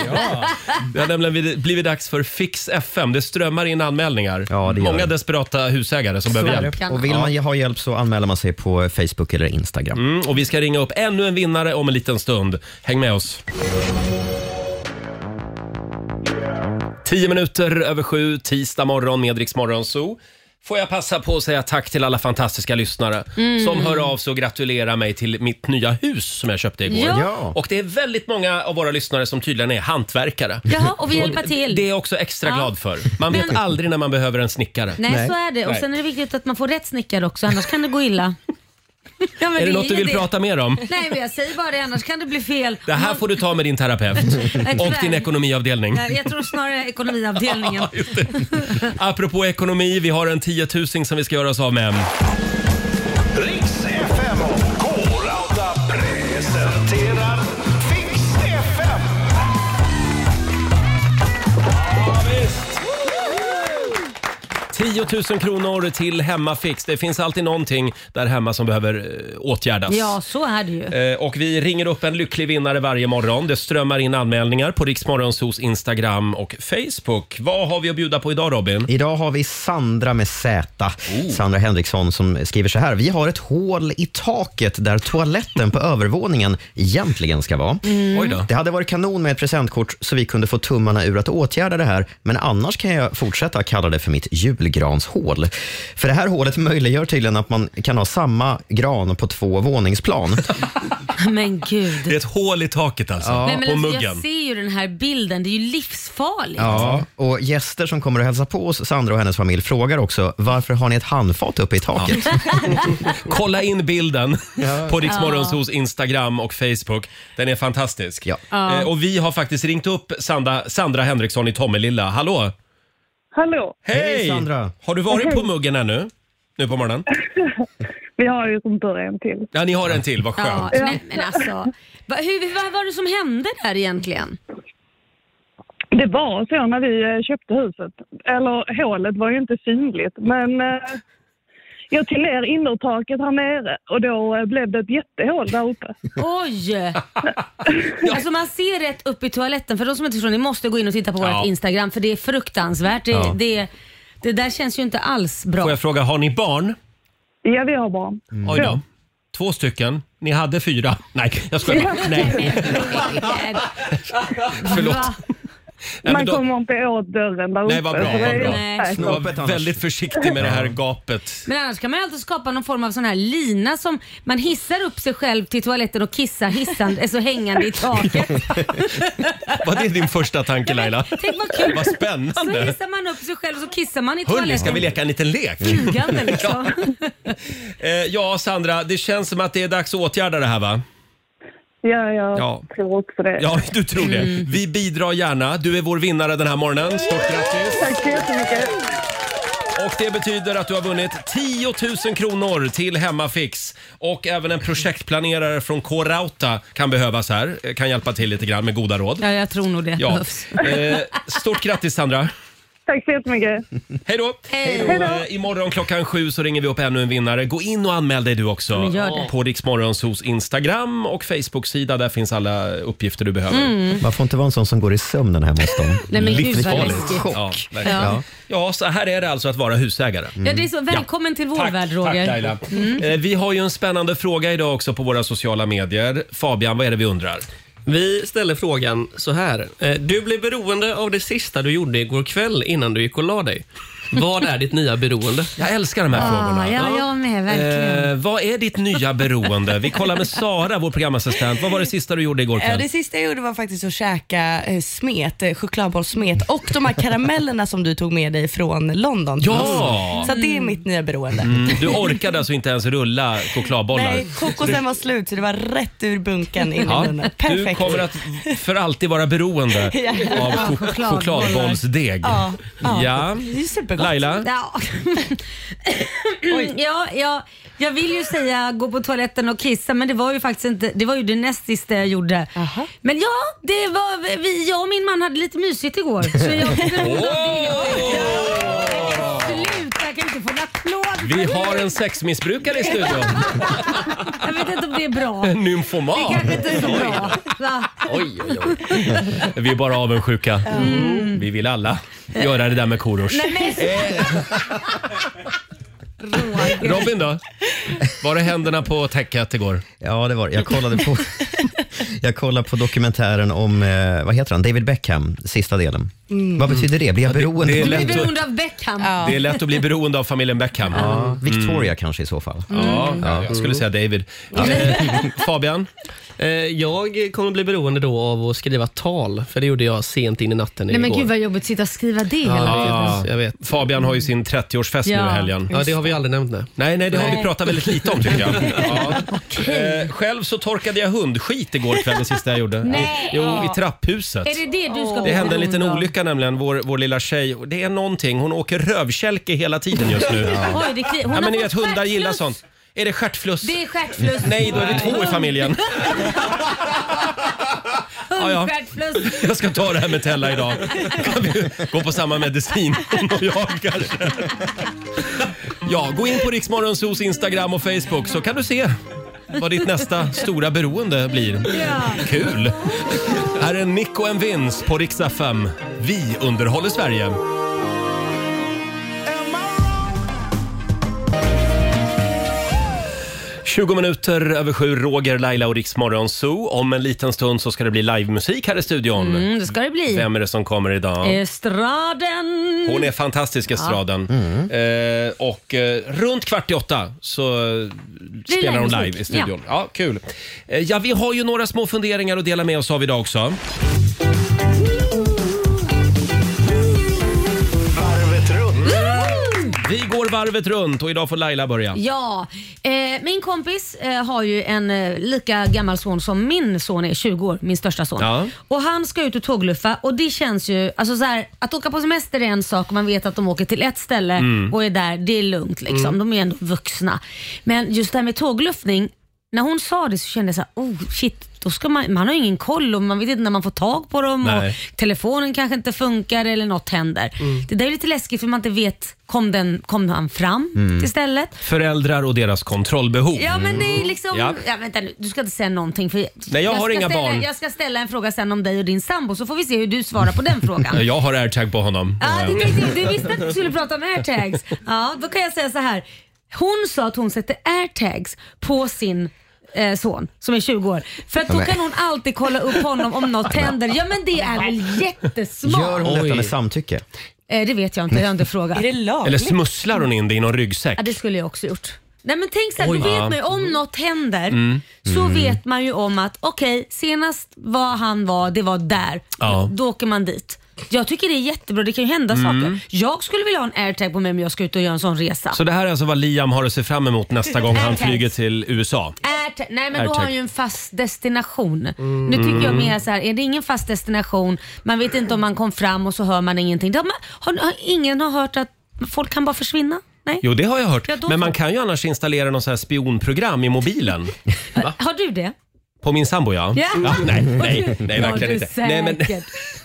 Det har nämligen vid- blivit dags för Fix FM. Det strömmar in anmälningar. Ja, det gör Många det. desperata husägare som behöver hjälp. Kan- Och vill man ha hjälp så anmäler man sig på Facebook eller Instagram. Mm, och vi ska ringa upp ännu en vinnare om en liten stund. Häng med oss. 10 minuter över sju, tisdag morgon med Rix Morgon Zoo. Får jag passa på att säga tack till alla fantastiska lyssnare Mm. som hör av sig och gratulerar mig till mitt nya hus som jag köpte igår. Ja. Ja. Och det är väldigt många av våra lyssnare som tydligen är hantverkare. Jaha, och vi hjälper till. Det är jag också extra Ja. glad för. Man vet Men- aldrig när man behöver en snickare. Nej, Nej. så är det. Och Nej. sen är det viktigt att man får rätt snickare också, annars kan det gå illa. [LAUGHS] Ja, men Är det något du ju vill prata mer om? Nej, men jag säger bara det, annars kan det bli fel. Det här får du ta med din [LAUGHS] terapeut och din tyvärr. ekonomiavdelning. Nej, Jag tror snarare [LAUGHS] ekonomiavdelningen. Apropå ekonomi, vi har en 10 000 som vi ska göra oss av med. Riks FM och K. 10 000 kronor till Hemmafix. Det finns alltid någonting där hemma som behöver eh, åtgärdas. Ja, så är det ju. Eh, Och vi ringer upp en lycklig vinnare varje morgon. Det strömmar in anmälningar på Riksmorgonsos Instagram och Facebook. Vad har vi att bjuda på idag [LAUGHS] Robin? Mm. Idag har vi Sandra med Z. Oh. Sandra Henriksson som skriver så här. Vi har ett hål i taket [LAUGHS] där toaletten på övervåningen egentligen ska vara. Mm. Oj då. Det hade varit kanon med ett presentkort så vi kunde få tummarna ur att åtgärda det här, men annars kan jag fortsätta kalla det för mitt julgranshål. För det här hålet möjliggör tydligen att man kan ha samma gran på två våningsplan. Men Det är [LAUGHS] gud. ett hål i taket alltså, Nej, men på alltså, muggen. jag ser ju den här bilden, det är ju livsfarligt. Ja, och gäster som kommer och hälsar på oss, Sandra och hennes familj, frågar också varför har ni ett handfat uppe i taket? [LAUGHS] Kolla in bilden [LAUGHS] på Riksmorgonsos Instagram och Facebook. Den är fantastisk. Ja. Eh, Och vi har faktiskt ringt upp Sandra, Sandra Henriksson i Tommelilla. Hallå! Hallå. Hej! Hej, Sandra. Har du varit på muggen ännu? Nu på morgonen? Vi har ju som början till. Ja, ni har en till. Vad Ja, skönt. men, men alltså, vad, hur, vad var det som hände där egentligen? Det var så när vi eh, köpte huset. Eller hålet var ju inte synligt, men eh, jag tog ner innertaket här nere och då eh, blev det ett jättehål där uppe. Oj! Alltså man ser rätt upp i toaletten. För de som inte förstår, ni måste gå in och titta på Ja. vårt Instagram för det är fruktansvärt. Det, Ja. det, det där känns ju inte alls bra. Får jag fråga, har ni barn? Ja, vi har barn. Mm. Oj då. Två stycken. Ni hade fyra. Nej, jag skojar bara. Nej, [LAUGHS] förlåt. Va? Nej, men Man då, kommer inte åt dörren där uppe. nej vad bra. så det Vad är- bra. Nej. Du var väldigt försiktig med det här gapet. Men annars kan man ju alltid skapa någon form av sån här lina som man hissar upp sig själv till toaletten och kissar hissande, alltså hängande i taket. Var det din första tanke Laila? Tänk vad kul! Vad Så spännande. hissar man upp sig själv och så kissar man i Hörni, ska toaletten. vi leka en liten lek? Flygande liksom. Eh, ja, Sandra, det känns som att det är dags att åtgärda det här va? Ja, jag Ja. tror också det. Ja, [LAUGHS] du tror det. Mm. Vi bidrar gärna. Du är vår vinnare den här morgonen. Stort grattis! Tack så jättemycket. Och det betyder att du har vunnit 10 000 kronor till Hemmafix. Och även en projektplanerare från K-Rauta kan behövas här. Eh, Kan hjälpa till lite grann med goda råd. Ja, jag tror nog det Ja. behövs. Eh, stort grattis Sandra! Tack så jättemycket. Hej då! Hej Och, eh, Imorgon klockan sju så ringer vi upp ännu en vinnare. Gå in och anmäl dig du också. Men gör det. På Riksmorgonsos Instagram och Facebook-sida. Där finns alla uppgifter du behöver. Mm. Man får inte vara en sån som går i sömnen hemma [LAUGHS] hos dem. Nej men gud vad Livsfarligt. läskigt. Ja, verkligen. Ja. ja. så här är det alltså att vara husägare. Ja, det är så. Välkommen till vår mm. Tack, värld tack Roger. Mm. Laila. Eh, Vi har ju en spännande fråga idag också på våra sociala medier. Fabian, vad är det vi undrar? Vi ställer frågan så här. Eh, Du blev beroende av det sista du gjorde igår kväll innan du gick och la dig. Vad är ditt nya beroende? Jag älskar de här Ah, frågorna. ja, jag med verkligen. Eh, vad är ditt nya beroende? Vi kollar med Sara, vår programassistent. Vad var det sista du gjorde igår Eh, kväll? Det sista jag gjorde var faktiskt att käka eh, smet, eh, chokladbollssmet och de här karamellerna som du tog med dig från London. till oss. Ja! Så det är mitt nya beroende. [LAUGHS] Du orkade alltså inte ens rulla chokladbollar? Nej, kokosen var slut så det var rätt ur bunken in i Ja, munnen. du Perfekt. kommer att för alltid vara beroende [LAUGHS] Ja. av chok- chokladbollar. chokladbollsdeg. Ja, ja. Ja. Det är supergott. Laila? Ja. ja, ja, jag vill ju säga gå på toaletten och kissa men det var ju faktiskt inte, det var ju det näst sista jag gjorde. Aha. Men ja, det var, vi, jag och min man hade lite mysigt igår. Så [LAUGHS] jag fick beroende av det. Sluta, jag kan inte få en applåd för Vi det. har en sexmissbrukare i studion. [LAUGHS] Jag vet inte om det är bra. En nymfoman. Kanske inte så bra. Va? Oj, oj, oj. Vi är bara avundsjuka. Mm. Vi vill alla göra det där med Korosh. Nej, men, Eh. [LAUGHS] Robin då? Var det händerna på täcket igår? Ja, det var det. Jag kollade [LAUGHS] på, jag kollade på dokumentären om, eh, vad heter han, David Beckham, sista delen. Vad betyder det? Blir jag beroende? Mm. [LAUGHS] det är av- Mm. lätt att- du är beroende av Beckham. Det är lätt att bli beroende av familjen Beckham. Mm. Ja, Victoria kanske i så fall. Mm. Ja, jag skulle säga David. Eh, [LAUGHS] Fabian? Eh, Jag kommer bli beroende då av att skriva tal, för det gjorde jag sent in i natten Nej igår. men gud vad jobbigt att sitta och skriva det hela tiden. Ja, jag vet. Ah. Fabian har ju sin 30-årsfest nu Ja. i helgen. Ja, det har vi aldrig nämnt. Nej. Nej, nej, det har Nej. vi pratat väldigt lite om tycker [LAUGHS] jag. Ja. Eh, själv så torkade jag hundskit igår kväll, det sista jag gjorde. Nej. Jo, i trapphuset. Är det det du ska Det bli hände en liten beroende av? olycka nämligen, vår, vår lilla tjej. Och Det är någonting, hon åker rövkälke hela tiden just nu. [LAUGHS] Oj, det kli- hon Ja, har men ni fått vet hundar gillar stjärtloss. sånt. Är det stjärtfluss? Det är stjärtfluss. Nej, då är vi två i familjen. ja, ja. Hundstjärtfluss. Jag ska ta det här med Tella idag. Kan vi gå på samma medicin hon och jag kanske. Ja, gå in på Riksmorgonsos Instagram och Facebook så kan du se vad ditt nästa stora beroende blir. Ja. Kul! Här är Nico and Vince på Rix FM. Vi underhåller Sverige. ...20 minuter över sju, Roger, Laila och Rix Morgon Zoo. Om en liten stund så ska det bli livemusik här i studion. Mm, det ska det bli. Eh, Vem är det som kommer idag? Estraden. Mm. Hon är fantastisk, Estraden. Eh, och eh, runt kvart i åtta så eh, spelar hon livemusik. live i studion. Ja. kul. Eh, ja, vi har ju några små funderingar att dela med oss av idag också. Mm. Vi går varvet runt och idag får Laila börja. Ja, eh, min kompis eh, har ju en eh, lika gammal son som min son är, 20 år, min största son. Ja. Och han ska ut och tågluffa och det känns ju, alltså så här, att åka på semester är en sak och man vet att de åker till ett ställe Mm. och är där, det är lugnt liksom. De är ändå vuxna. Men just det här med tågluffning, när hon sa det så kände jag så här, oh shit, då ska man, man har ju ingen koll och man vet inte när man får tag på dem Nej. och telefonen kanske inte funkar eller något händer. Det där är lite läskigt för man inte vet, kom, den, kom han fram Mm. till stället? Föräldrar och deras kontrollbehov. Ja men det är liksom, Ja. ja. vänta nu, du ska inte säga någonting för Nej, jag har ska inga ställa, barn. Jag ska ställa en fråga sen om dig och din sambo så får vi se hur du svarar på [LAUGHS] den frågan. Jag har airtag på honom. ja, du, tänkte, du visste att du skulle prata om airtags. Ja, då kan jag säga så här. Hon sa att hon sätter airtags på sin eh, son som är 20 år. För att då Nej. kan hon alltid kolla upp honom om något händer. Ja men det är väl jättesmart? Gör hon detta Oj. med samtycke? Eh, det vet jag inte, jag har inte frågat. Är det Eller lagligt? smusslar hon in det i någon ryggsäck? Ja, det skulle jag också gjort. Nej men tänk så här, Oj. du Ja. Mm. vet nu om något händer så vet man ju om att okej, senast var han var, det var där. Ja. Mm. Då åker man dit. Jag tycker det är jättebra, det kan ju hända saker. Jag skulle vilja ha en airtag på mig om jag ska ut och göra en sån resa. Så det här är alltså vad Liam har att se fram emot nästa gång han Airtags. flyger till USA? Airtag. Nej men då Airtag. har han ju en fast destination. Nu tycker jag mer så här, är det ingen fast destination, man vet inte om man kom fram och så hör man ingenting. De, har, har, ingen har hört att folk kan bara försvinna? Nej? Jo, det har jag hört. Ja, då Men man så. kan ju annars installera någon sån här spionprogram i mobilen. Har du det? På min sambo, ja. Ja. nej, nej, nej, Ja, verkligen du inte. Nej, Säkert. men, [LAUGHS]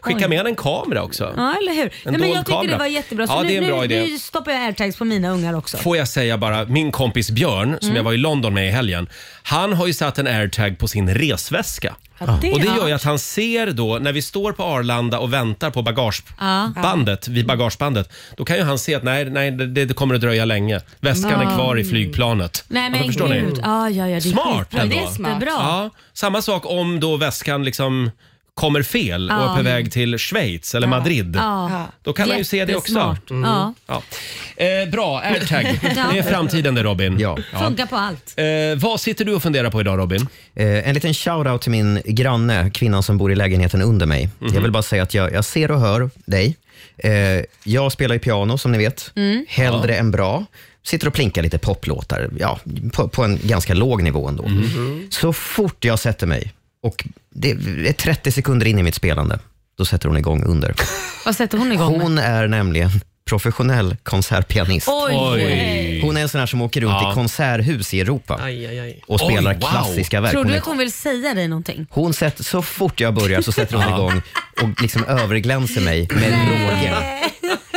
skicka med en kamera också. Ja, eller hur. En Nej, men dold jag tyckte kamera. det var jättebra. Så Ja, nu, det är en bra nu, idé. nu stoppar jag airtags på mina ungar också. Får jag säga bara, min kompis Björn Mm. som jag var i London med i helgen. Han har ju satt en airtag på sin resväska. Ja, det Och det gör är- ju att han ser då, när vi står på Arlanda och väntar på bagagebandet, vid bagagebandet, då kan ju han se att nej, nej det, det kommer att dröja länge. Väskan är kvar i flygplanet. Nej men Alltså, förstår ni? gud. Ja, ja, ja, det är Smart skitbra. ändå. Det är jättebra. Ja, samma sak om då väskan liksom kommer fel och är på väg till Schweiz eller Madrid. Ja. Då kan man ju se det också. Mm. Jättesmart. Ja. Ja. Eh, bra, airtag. [LAUGHS] Det är framtiden det Robin. Ja. Funkar på allt. Eh, vad sitter du och funderar på idag Robin? Eh, en liten shout-out till min granne, kvinnan som bor i lägenheten under mig. Mhm. Jag vill bara säga att jag, jag ser och hör dig. Eh, jag spelar ju piano, som ni vet. Mm. Hellre än bra. Sitter och plinkar lite poplåtar, ja, på, på en ganska låg nivå ändå. Mhm. Så fort jag sätter mig, och det är 30 sekunder in i mitt spelande, då sätter hon igång under. [LAUGHS] Vad sätter hon igång med? Hon är nämligen professionell konsertpianist. Oj. Hon är en sån här som åker runt Ja. i konserthus i Europa Aj, aj, aj. och spelar Oj, wow. klassiska verk. Tror Hon du är att hon vill säga dig någonting? hon sätter, så fort jag börjar så sätter hon igång och liksom överglänser mig med råge. [LAUGHS]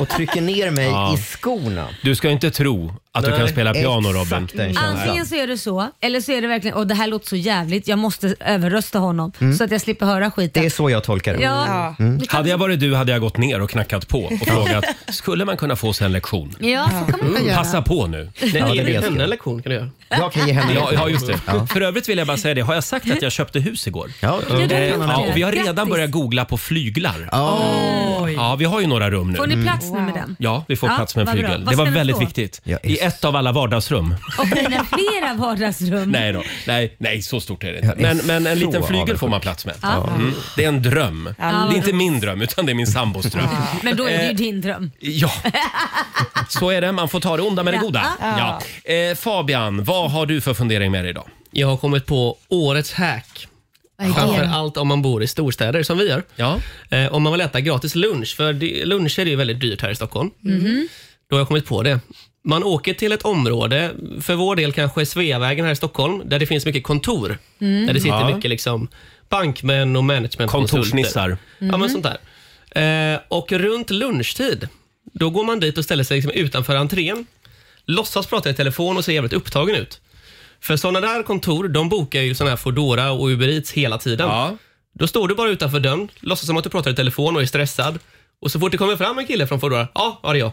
Och trycker ner mig i skorna. Du ska inte tro att du kan spela piano Robin. Exakt den Mm. Antingen känslan. så är det så, eller så är det verkligen åh det här låter så jävligt, jag måste överrösta honom så att jag slipper höra skiten. Det är så jag tolkar det. Mm. Ja. Du kan- Hade jag varit du hade jag gått ner och knackat på [LAUGHS] och frågat, skulle man kunna få sig en lektion? Ja, så kan man väl göra. Mm. Passa på nu. Nej, det ja, vet det jag. henne lektion kan du göra. Jag kan ge henne Ja, ja just det. Ja. För övrigt vill jag bara säga det, har jag sagt att jag köpte hus igår? Eh, Ja, då Ja, det kan är hon klart. Ja, ha- och vi har redan Grattis. börjat googla på flyglar. Ja, vi har ju några rum Får nu. Mm. ni plats nu med den? Ja, vi får Ja, plats med en vad bra. flygel. Vad Det var ska Mm. den väldigt stå? viktigt. Ja, I ett av alla vardagsrum. Och dina flera vardagsrum. Nej då. Nej, nej, så stort är det inte. Jag är Men, men en så liten flygel avundsjuk. får man plats med. Mm. Det är en dröm. Det är inte min dröm, utan det är min sambos dröm. Eh, Men då är det ju din dröm. Ja, så är det. Man får ta det onda med det goda. Ja. Eh, Fabian, vad har du för fundering med dig idag? Jag har kommit på årets hack. Framförallt om man bor i storstäder som vi gör. Ja. Eh, om Mm-hmm. man vill äta gratis lunch, för det, lunch är ju väldigt dyrt här i Stockholm. Då har jag kommit på det. Man åker till ett område, för vår del kanske Sveavägen här i Stockholm, där det finns mycket kontor. Mm. Där det sitter Ja. mycket liksom bankmän och managementkonsulter. Kontorsnissar. Ja, Mm. men sånt där. Eh, och runt lunchtid, då går man dit och ställer sig liksom utanför entrén, låtsas prata i telefon och ser jävligt upptagen ut. För sådana där kontor, de bokar ju sådana här Foodora och Uber Eats hela tiden. Ja. Då står du bara utanför dörren, låtsas som att du pratar i telefon och är stressad. Och så fort det kommer fram en kille från Foodora, ja, ja det är jag.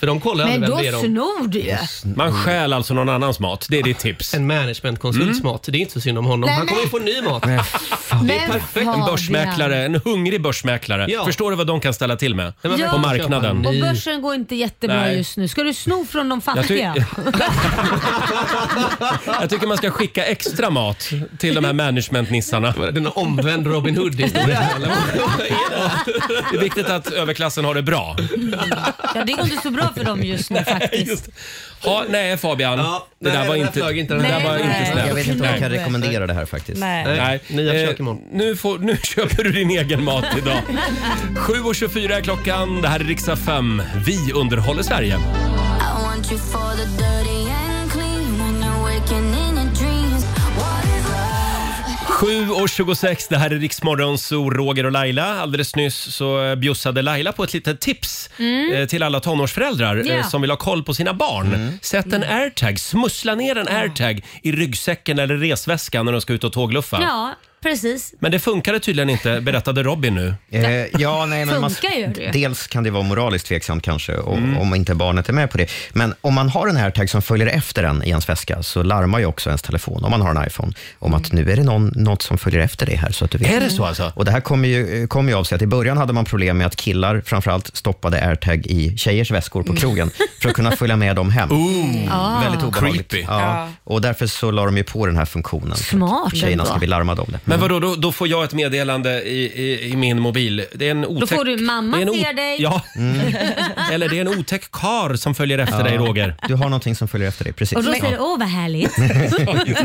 För de kollar Men aldrig vem då det är de. snor du ju. Man stjäl alltså någon annans mat. Det är ditt tips. Mm. En managementkonsults mat, det är inte så synd om honom. Nej, Han men- kommer ju få ny mat. Det är perfekt. En börsmäklare, en hungrig börsmäklare. Ja. Förstår du vad de kan ställa till med Nej, men Ja. på verkligen. marknaden? Köpa Och en ny. börsen går inte jättebra Nej. just nu. Ska du sno från de Jag, ty- fattiga? jag tycker man ska skicka extra mat till de här managementnissarna. Vad är det, [LAUGHS] Den omvänd Robin Hood-historia. eller vad är det? [LAUGHS] Det är viktigt att överklassen har det bra. [LAUGHS] Ja, det går inte så bra för dem just nu faktiskt. Just. Ha, nej Fabian, Ja, det där nej, var den där inte, flög inte, det den där där var flög inte inte. Jag snällt. vet inte om jag kan Nej. rekommendera det här faktiskt. Nej. Nej. Nya Eh, försök imorgon. Nu, får, nu [LAUGHS] köper du din egen mat idag. 7.24 är klockan. Det här är Riksdag 5. Vi underhåller Sverige. Sju och 26, det här är Riksmorgon, så Roger och Laila. Alldeles nyss så eh, bjussade Laila på ett litet tips eh, till alla tonårsföräldrar eh, Mm. Ja. som vill ha koll på sina barn. Sätt en airtag, smussla ner en airtag i ryggsäcken eller resväskan när de ska ut och tågluffa. Ja, precis. Men det funkade tydligen inte, berättade Robin nu. Eh, ja, nej, men man, Funkar ju det. dels kan det vara moraliskt tveksamt kanske, om, Mm. om inte barnet är med på det. Men om man har en AirTag som följer efter en i ens väska, så larmar ju också ens telefon, om man har en iPhone, om att Mm. nu är det någon, något som följer efter dig här. Så att du vet. Är det så alltså? Och det här kommer ju, kom ju av sig att i början hade man problem med att killar framförallt stoppade AirTag i tjejers väskor Mm. på krogen för att kunna följa med dem hem. Ah. Väldigt obehagligt. Creepy. Ja. Och därför så la de ju på den här funktionen. för att Smart Tjejerna ändå. ska bli larmade om det. Men vadå, då, då får jag ett meddelande i, i, i min mobil. Det är en otäck, får du, "Mamma det är en ser dig." Ja. [LAUGHS] Eller det är en otäck kar som följer efter dig Roger. Du har någonting som följer efter dig, precis. Och då Ja. säger du, åh vad härligt.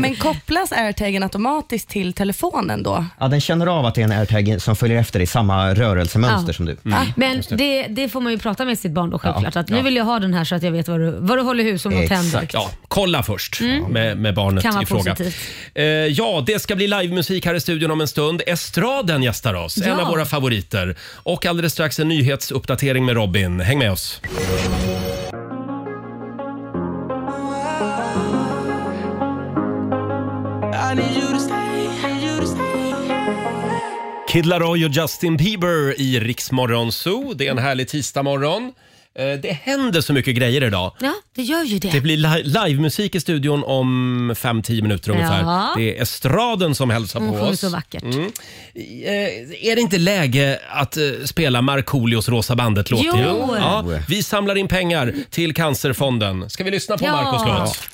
[LAUGHS] Men kopplas airtagen automatiskt till telefonen då? Ja, den känner av att det är en airtag som följer efter i samma rörelsemönster Ja. som du. Men Mm. det, det får man ju prata med sitt barn då självklart. Att nu vill jag ha den här så att jag vet vad du, vad du håller hus om något Exakt. händer. Ja, kolla först med, med barnet Mm. Kan vara i fråga. positivt. Eh, ja, det ska bli livemusik här i studion om en stund. Estraden gästar oss, en Ja. av våra favoriter. Och alldeles strax en nyhetsuppdatering med Robin. Häng med oss. Kid Laroi och Justin Bieber i Riksmorgon Zoo. Det är en härlig tisdagmorgon. Eh, det händer så mycket grejer idag. Ja, det gör ju Det det. blir li- livemusik i studion om 5-10 minuter ungefär. Ja. Det är estraden som hälsar Hon på sjunger oss. Mm. så vackert. Eh, är det inte läge att eh, spela Markoolios Rosa bandet-låt Jo. igen? Ja, vi samlar in pengar till Cancerfonden. Ska vi lyssna på Ja. Marcos låt?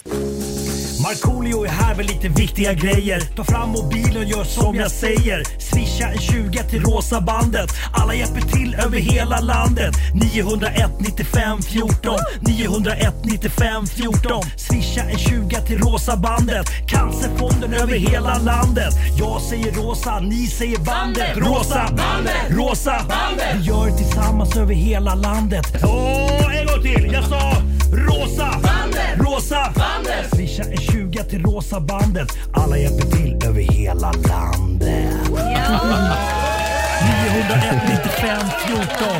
Markoolio är här med lite viktiga grejer. Ta fram mobilen, gör som jag säger. Swisha en 20 till rosa bandet. Alla hjälper till över hela landet. 901 95 14. 901 95 14. Swisha en 20 till rosa bandet. Cancerfonden över hela landet. Jag säger rosa, ni säger bandet. Rosa bandet, rosa bandet. Vi gör det tillsammans över hela landet. Åh, en gång till. Jag sa rosa bandet, rosa bandet. Swisha en 20 till rosa bandet. Alla hjälper till över hela landet. 901 95 14.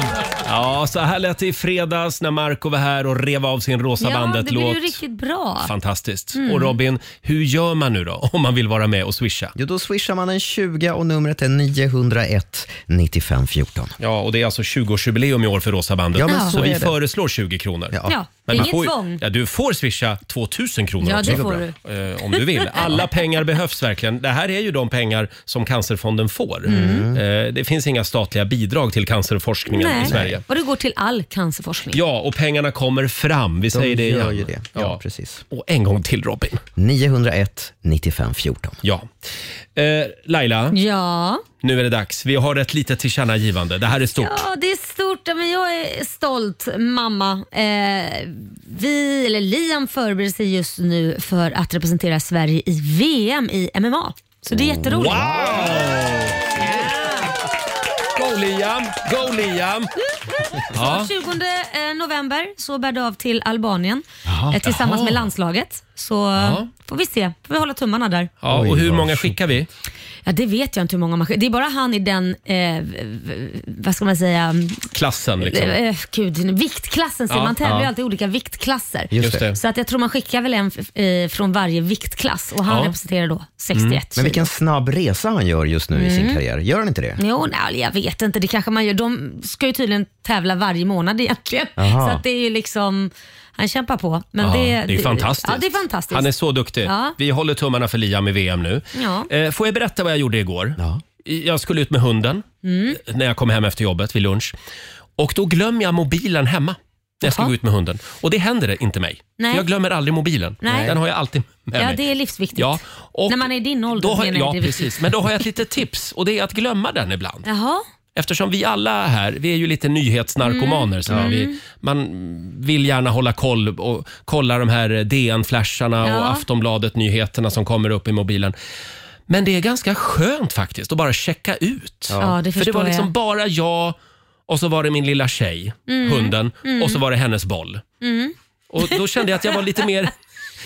Ja, så här lät det i fredags när Marco var här och rev av sin Rosa Ja, det blir bandet-låt. ju riktigt bra. Mm. Fantastiskt. Och Robin, hur gör man nu då om man vill vara med och swisha? Jo, då swishar man en 20 och numret är 901 95 14. Ja, och det är alltså 20-årsjubileum i år för Rosa bandet. Ja, men så så vi är det. föreslår 20 kronor. Ja, Men man inget får, ju- tvång. ja, du får swisha 2000 kronor Ja, också. det får du. Eh, om du [LAUGHS] vill. Alla pengar behövs verkligen. Det här är ju de pengar som Cancerfonden får. Eh, det finns inga statliga bidrag till cancerforskningen i Sverige. Mm. Nej. Och det går till all cancerforskning. Ja, och pengarna kommer fram. Vi säger det gör igen. ju det. Ja, precis. Och en gång till Robin. 901 95 14. Ja. Eh, Laila, Ja. nu är det dags. Vi har ett litet tillkännagivande. Det här är stort. ja, det är stort. Men jag är stolt mamma. Eh, vi, eller Liam förbereder sig just nu för att representera Sverige i VM i MMA. Så det är jätteroligt. Wow! Go Go Liam! Go [LAUGHS] Liam! Ja. Ja. 20 eh, november så bär det av till Albanien Jaha. eh, tillsammans Jaha. med landslaget. Så Ja. får vi se. Får vi hålla tummarna där. Ja, och hur många skickar vi? Ja, det vet jag inte hur många man skickar. Det är bara han i den, eh, v- v- vad ska man säga, Klassen liksom. eh, eh, gud, viktklassen. Ja. Ja. Man tävlar ju Ja. alltid i olika viktklasser. Just det. Så att jag tror man skickar väl en f- eh, från varje viktklass och han Ja. representerar då 61 Mm. Men kilo. vilken snabb resa han gör just nu i sin Mm. karriär. Gör han inte det? Jo, nej, alltså, jag vet inte. Det kanske man gör. De ska ju tydligen tävla varje månad egentligen. Jaha. Så att det är ju liksom, han kämpar på. Men Ja, det, det är ju fantastiskt. Ja, det är fantastiskt. Han är så duktig. Ja. Vi håller tummarna för Liam i VM nu. Ja. Eh, Får jag berätta vad jag gjorde igår? Jag skulle ut med hunden Mm. när jag kom hem efter jobbet vid lunch. Och då glömmer jag mobilen hemma när jag ska Jaha. gå ut med hunden. Och det händer det inte mig. Nej. För Jag glömmer aldrig mobilen. Nej. Den har jag alltid med Ja, mig. det är livsviktigt. Ja, och När man är i din ålder då har, menar jag ja, det är viktigt. precis. Men då har jag ett litet tips och det är att glömma den ibland. Jaha. Eftersom vi alla här, vi är ju lite nyhetsnarkomaner. Mm, sådär. mm. Vi, man vill gärna hålla koll och kolla de här DN-flasharna Ja. och Aftonbladet-nyheterna som kommer upp i mobilen. Men det är ganska skönt faktiskt att bara checka ut. Ja, det För det förstår var liksom jag. bara jag och så var det min lilla tjej, Mm, hunden, mm. och så var det hennes boll. Mm. Och då kände jag att jag var lite [LAUGHS] mer,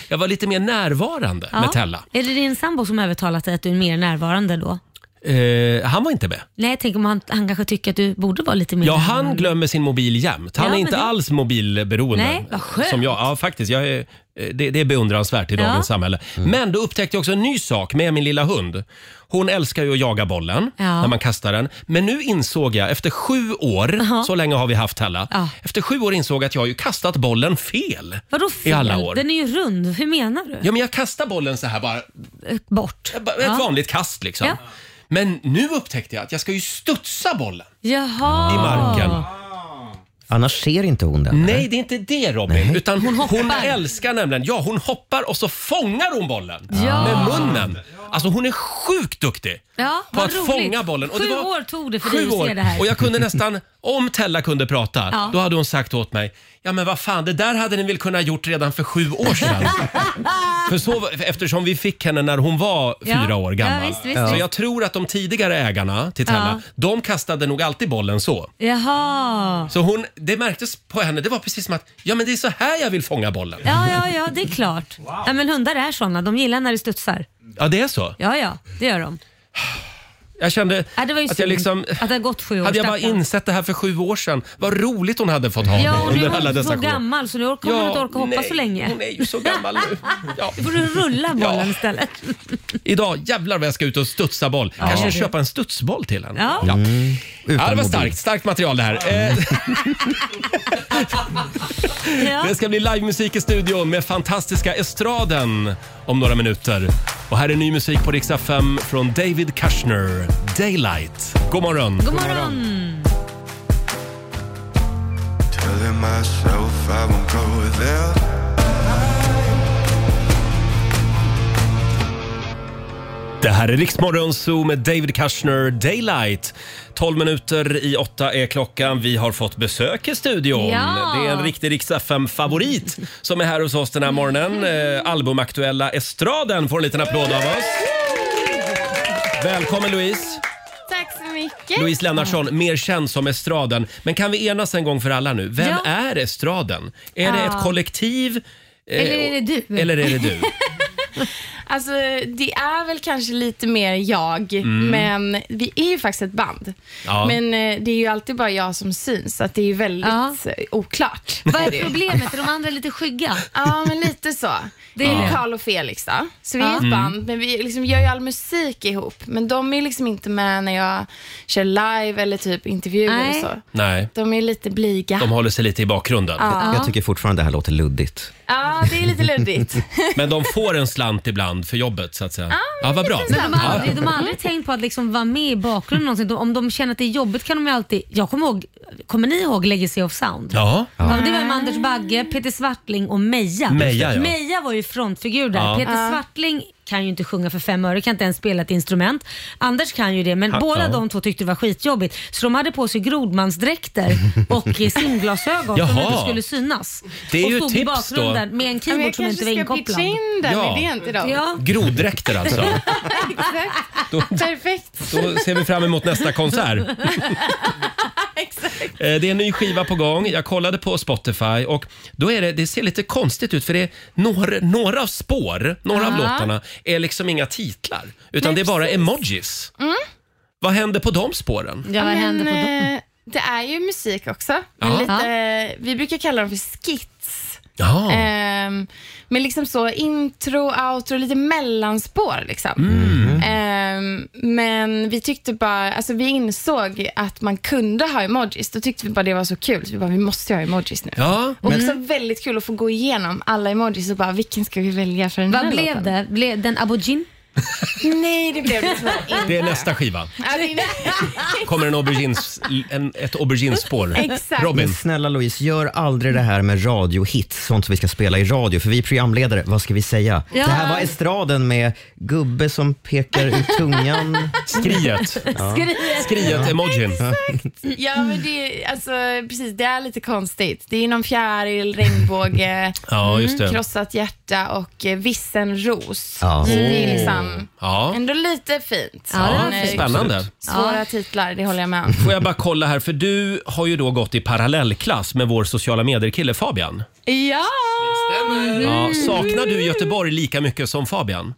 jag var lite mer närvarande Ja. med Tella. Är det din sambo som övertalat dig att du är mer närvarande då? Eh, han var inte med. Nej, tänk om han, han kanske tycker att du borde vara lite mer Ja, närvarande. han glömmer sin mobil jämt. Han Ja, är men inte det- alls mobilberoende. Nej, vad skönt. Som jag. Ja, faktiskt. Jag är, eh, det, det är beundransvärt i Ja. dagens samhälle. Men då upptäckte jag också en ny sak med min lilla hund. Hon älskar ju att jaga bollen Ja. när man kastar den. Men nu insåg jag, efter sju år, Jaha. så länge har vi haft Hella, Ja. efter sju år insåg jag att jag har ju kastat bollen fel. Vadå I fel? alla år. Den är ju rund. Hur menar du? Ja, men jag kastar bollen så här bara, Eh, Bort? bara ett Ja. vanligt kast liksom. Ja. Men nu upptäckte jag att jag ska ju studsa bollen Jaha. i marken. Annars ser inte hon den. Nej, det är inte det Robin. Utan hon, hoppar. älskar nämligen, ja hon hoppar och så fångar hon bollen Ja. med munnen. Alltså hon är sjukt duktig. Ja, På vad att roligt. fånga bollen. Och det sju var- år tog det för dig Sju att år. se det här. Och jag kunde nästan, om Tella kunde prata, Ja. då hade hon sagt åt mig, ja men vad fan det där hade ni väl kunnat gjort redan för sju år [LAUGHS] sedan. för så, eftersom vi fick henne när hon var Ja. fyra år Ja, gammal. visst, visst, så visst. jag tror att de tidigare ägarna till Tella, Ja. de kastade nog alltid bollen så. Jaha. Så hon, det märktes på henne, det var precis som att ja men det är så här jag vill fånga bollen. Ja, ja, ja, det är klart. Ja, men hundar är såna. De gillar när det studsar. Ja det är så. Ja, ja, det gör de. Jag kände Ja, det var ju att jag synd liksom, att det har gått sju år. hade jag bara stackarn. insett det här för sju år sedan, vad roligt hon hade fått ha det Ja, och nu under är alla hon så dessa sju år. gammal så nu kommer Ja, hon inte orka hoppa nej, så länge. hon är ju så gammal [LAUGHS] nu. Ja. Då får du rulla bollen istället. Idag jävlar vad jag ska ut och studsa boll. Ja. Kanske köpa en studsboll till henne. Ja. Ja, det var mobil. starkt. Starkt material det här. Eh, [LAUGHS] Ja. [LAUGHS] Det ska bli livemusik i studion med fantastiska Estraden om några minuter. Och här är ny musik på riksdag 5 från David Kushner, Daylight. God morgon! God morgon! Telling myself I won't go there. Det här är Riksmorgon Zoo med David Kushner, Daylight. 12 minuter i åtta är klockan. Vi har fått besök i studion. Ja. Det är en riktig riks favorit som är här hos oss den här morgonen. Eh, albumaktuella Estraden får en liten applåd av oss. Välkommen Louise! Tack så mycket. Louise Lennartsson, mer känd som Estraden. Men kan vi enas en gång för alla nu? Vem Ja. är Estraden? Är det Ja. ett kollektiv? Eh, Eller är det du? Eller är det [LAUGHS] du? Alltså, det är väl kanske lite mer jag, Mm. men vi är ju faktiskt ett band. Ja. Men eh, det är ju alltid bara jag som syns, så att det är ju väldigt eh, oklart. Vad är problemet? Är de andra lite skygga? Ja, men lite så. Det är är det. ju Karl och Felix då. Så vi är Ja. ett Mm. band, men vi liksom gör ju all musik ihop. Men de är liksom inte med när jag kör live eller typ intervjuer och så. Nej, De är lite blyga. de håller sig lite i bakgrunden. Ja. Jag tycker fortfarande det här låter luddigt. Ja, det är lite luddigt. [LAUGHS] Men de får en slant ibland för jobbet så att säga. Ja, Ja, vad bra. Men de, har aldrig, Ja. de har aldrig tänkt på att liksom vara med i bakgrunden någonsin. De, om de känner att det är jobbigt kan de ju alltid... Jag kommer ihåg, kommer ni ihåg Legacy of Sound? Ja. Ja. men Det var med Anders Bagge, Peter Swartling och Meja. Meja, ja. Meja var ju frontfigur där. Ja. Peter Ja. Swartling kan ju inte sjunga för fem öre, kan inte ens spela ett instrument. Anders kan ju det, men Ja. båda Ja. de två tyckte det var skitjobbigt. Så de hade på [LAUGHS] sig grodmansdräkter och eh, simglasögon som Jaha. inte skulle synas. Det är och ju stod i tips bakgrunden då. med en Ja, men keyboard jag som inte kanske var ska inkopplad. pitcha in den Ja. idén till dem. Ja. Groddräkter alltså. [LAUGHS] Exakt. Då- Perfekt. Då ser vi fram emot nästa [LAUGHS] konsert. Eh, Det är en ny skiva på gång. Jag kollade på Spotify och då är det, det ser lite konstigt ut för det är några, några spår, några av Ja. låtarna är liksom inga titlar utan Nej, det är bara precis. emojis. Mm. Vad händer på de spåren? Ja, vad händer på dem? eh, Det är ju musik också. Men Ja. lite, eh, vi brukar kalla dem för skits. Jaha. Ehm, men liksom så intro, outro, lite mellanspår. Liksom. Mm. Ehm, men vi tyckte bara, alltså vi insåg att man kunde ha emojis. Då tyckte vi bara det var så kul, så vi bara, vi måste ju ha emojis nu. Ja, Och men- också väldigt kul att få gå igenom alla emojis och bara, vilken ska vi välja för den Vad här blev låten? det? Blev den aubergine? [LAUGHS] Nej, det blev det tyvärr inte. Det är nästa skiva. Ja, det är Kommer en [LAUGHS] aubergines, en, ett auberginespår. [LAUGHS] Exakt. Robin? Men snälla Louise, gör aldrig det här med radiohits, sånt som vi ska spela i radio. För vi är programledare, vad ska vi säga? Ja. Det här var estraden med gubbe som pekar ut tungan. [LAUGHS] Skriet. Skriet. Skriet-emojin. Ja, men det, är- alltså, precis, det är lite konstigt. Det är någon fjäril, [LAUGHS] regnbåge, mm, Ja, just det. krossat hjärta och eh, vissen ros. Ja. Så det Oh. är liksom Ja. ändå lite fint. Ja, Men, eh, spännande. Svåra titlar, det håller jag med om. Får jag bara kolla här, för du har ju då gått i parallellklass med vår sociala medier-kille Fabian. Ja! Mm. Ja, saknar du Göteborg lika mycket som Fabian?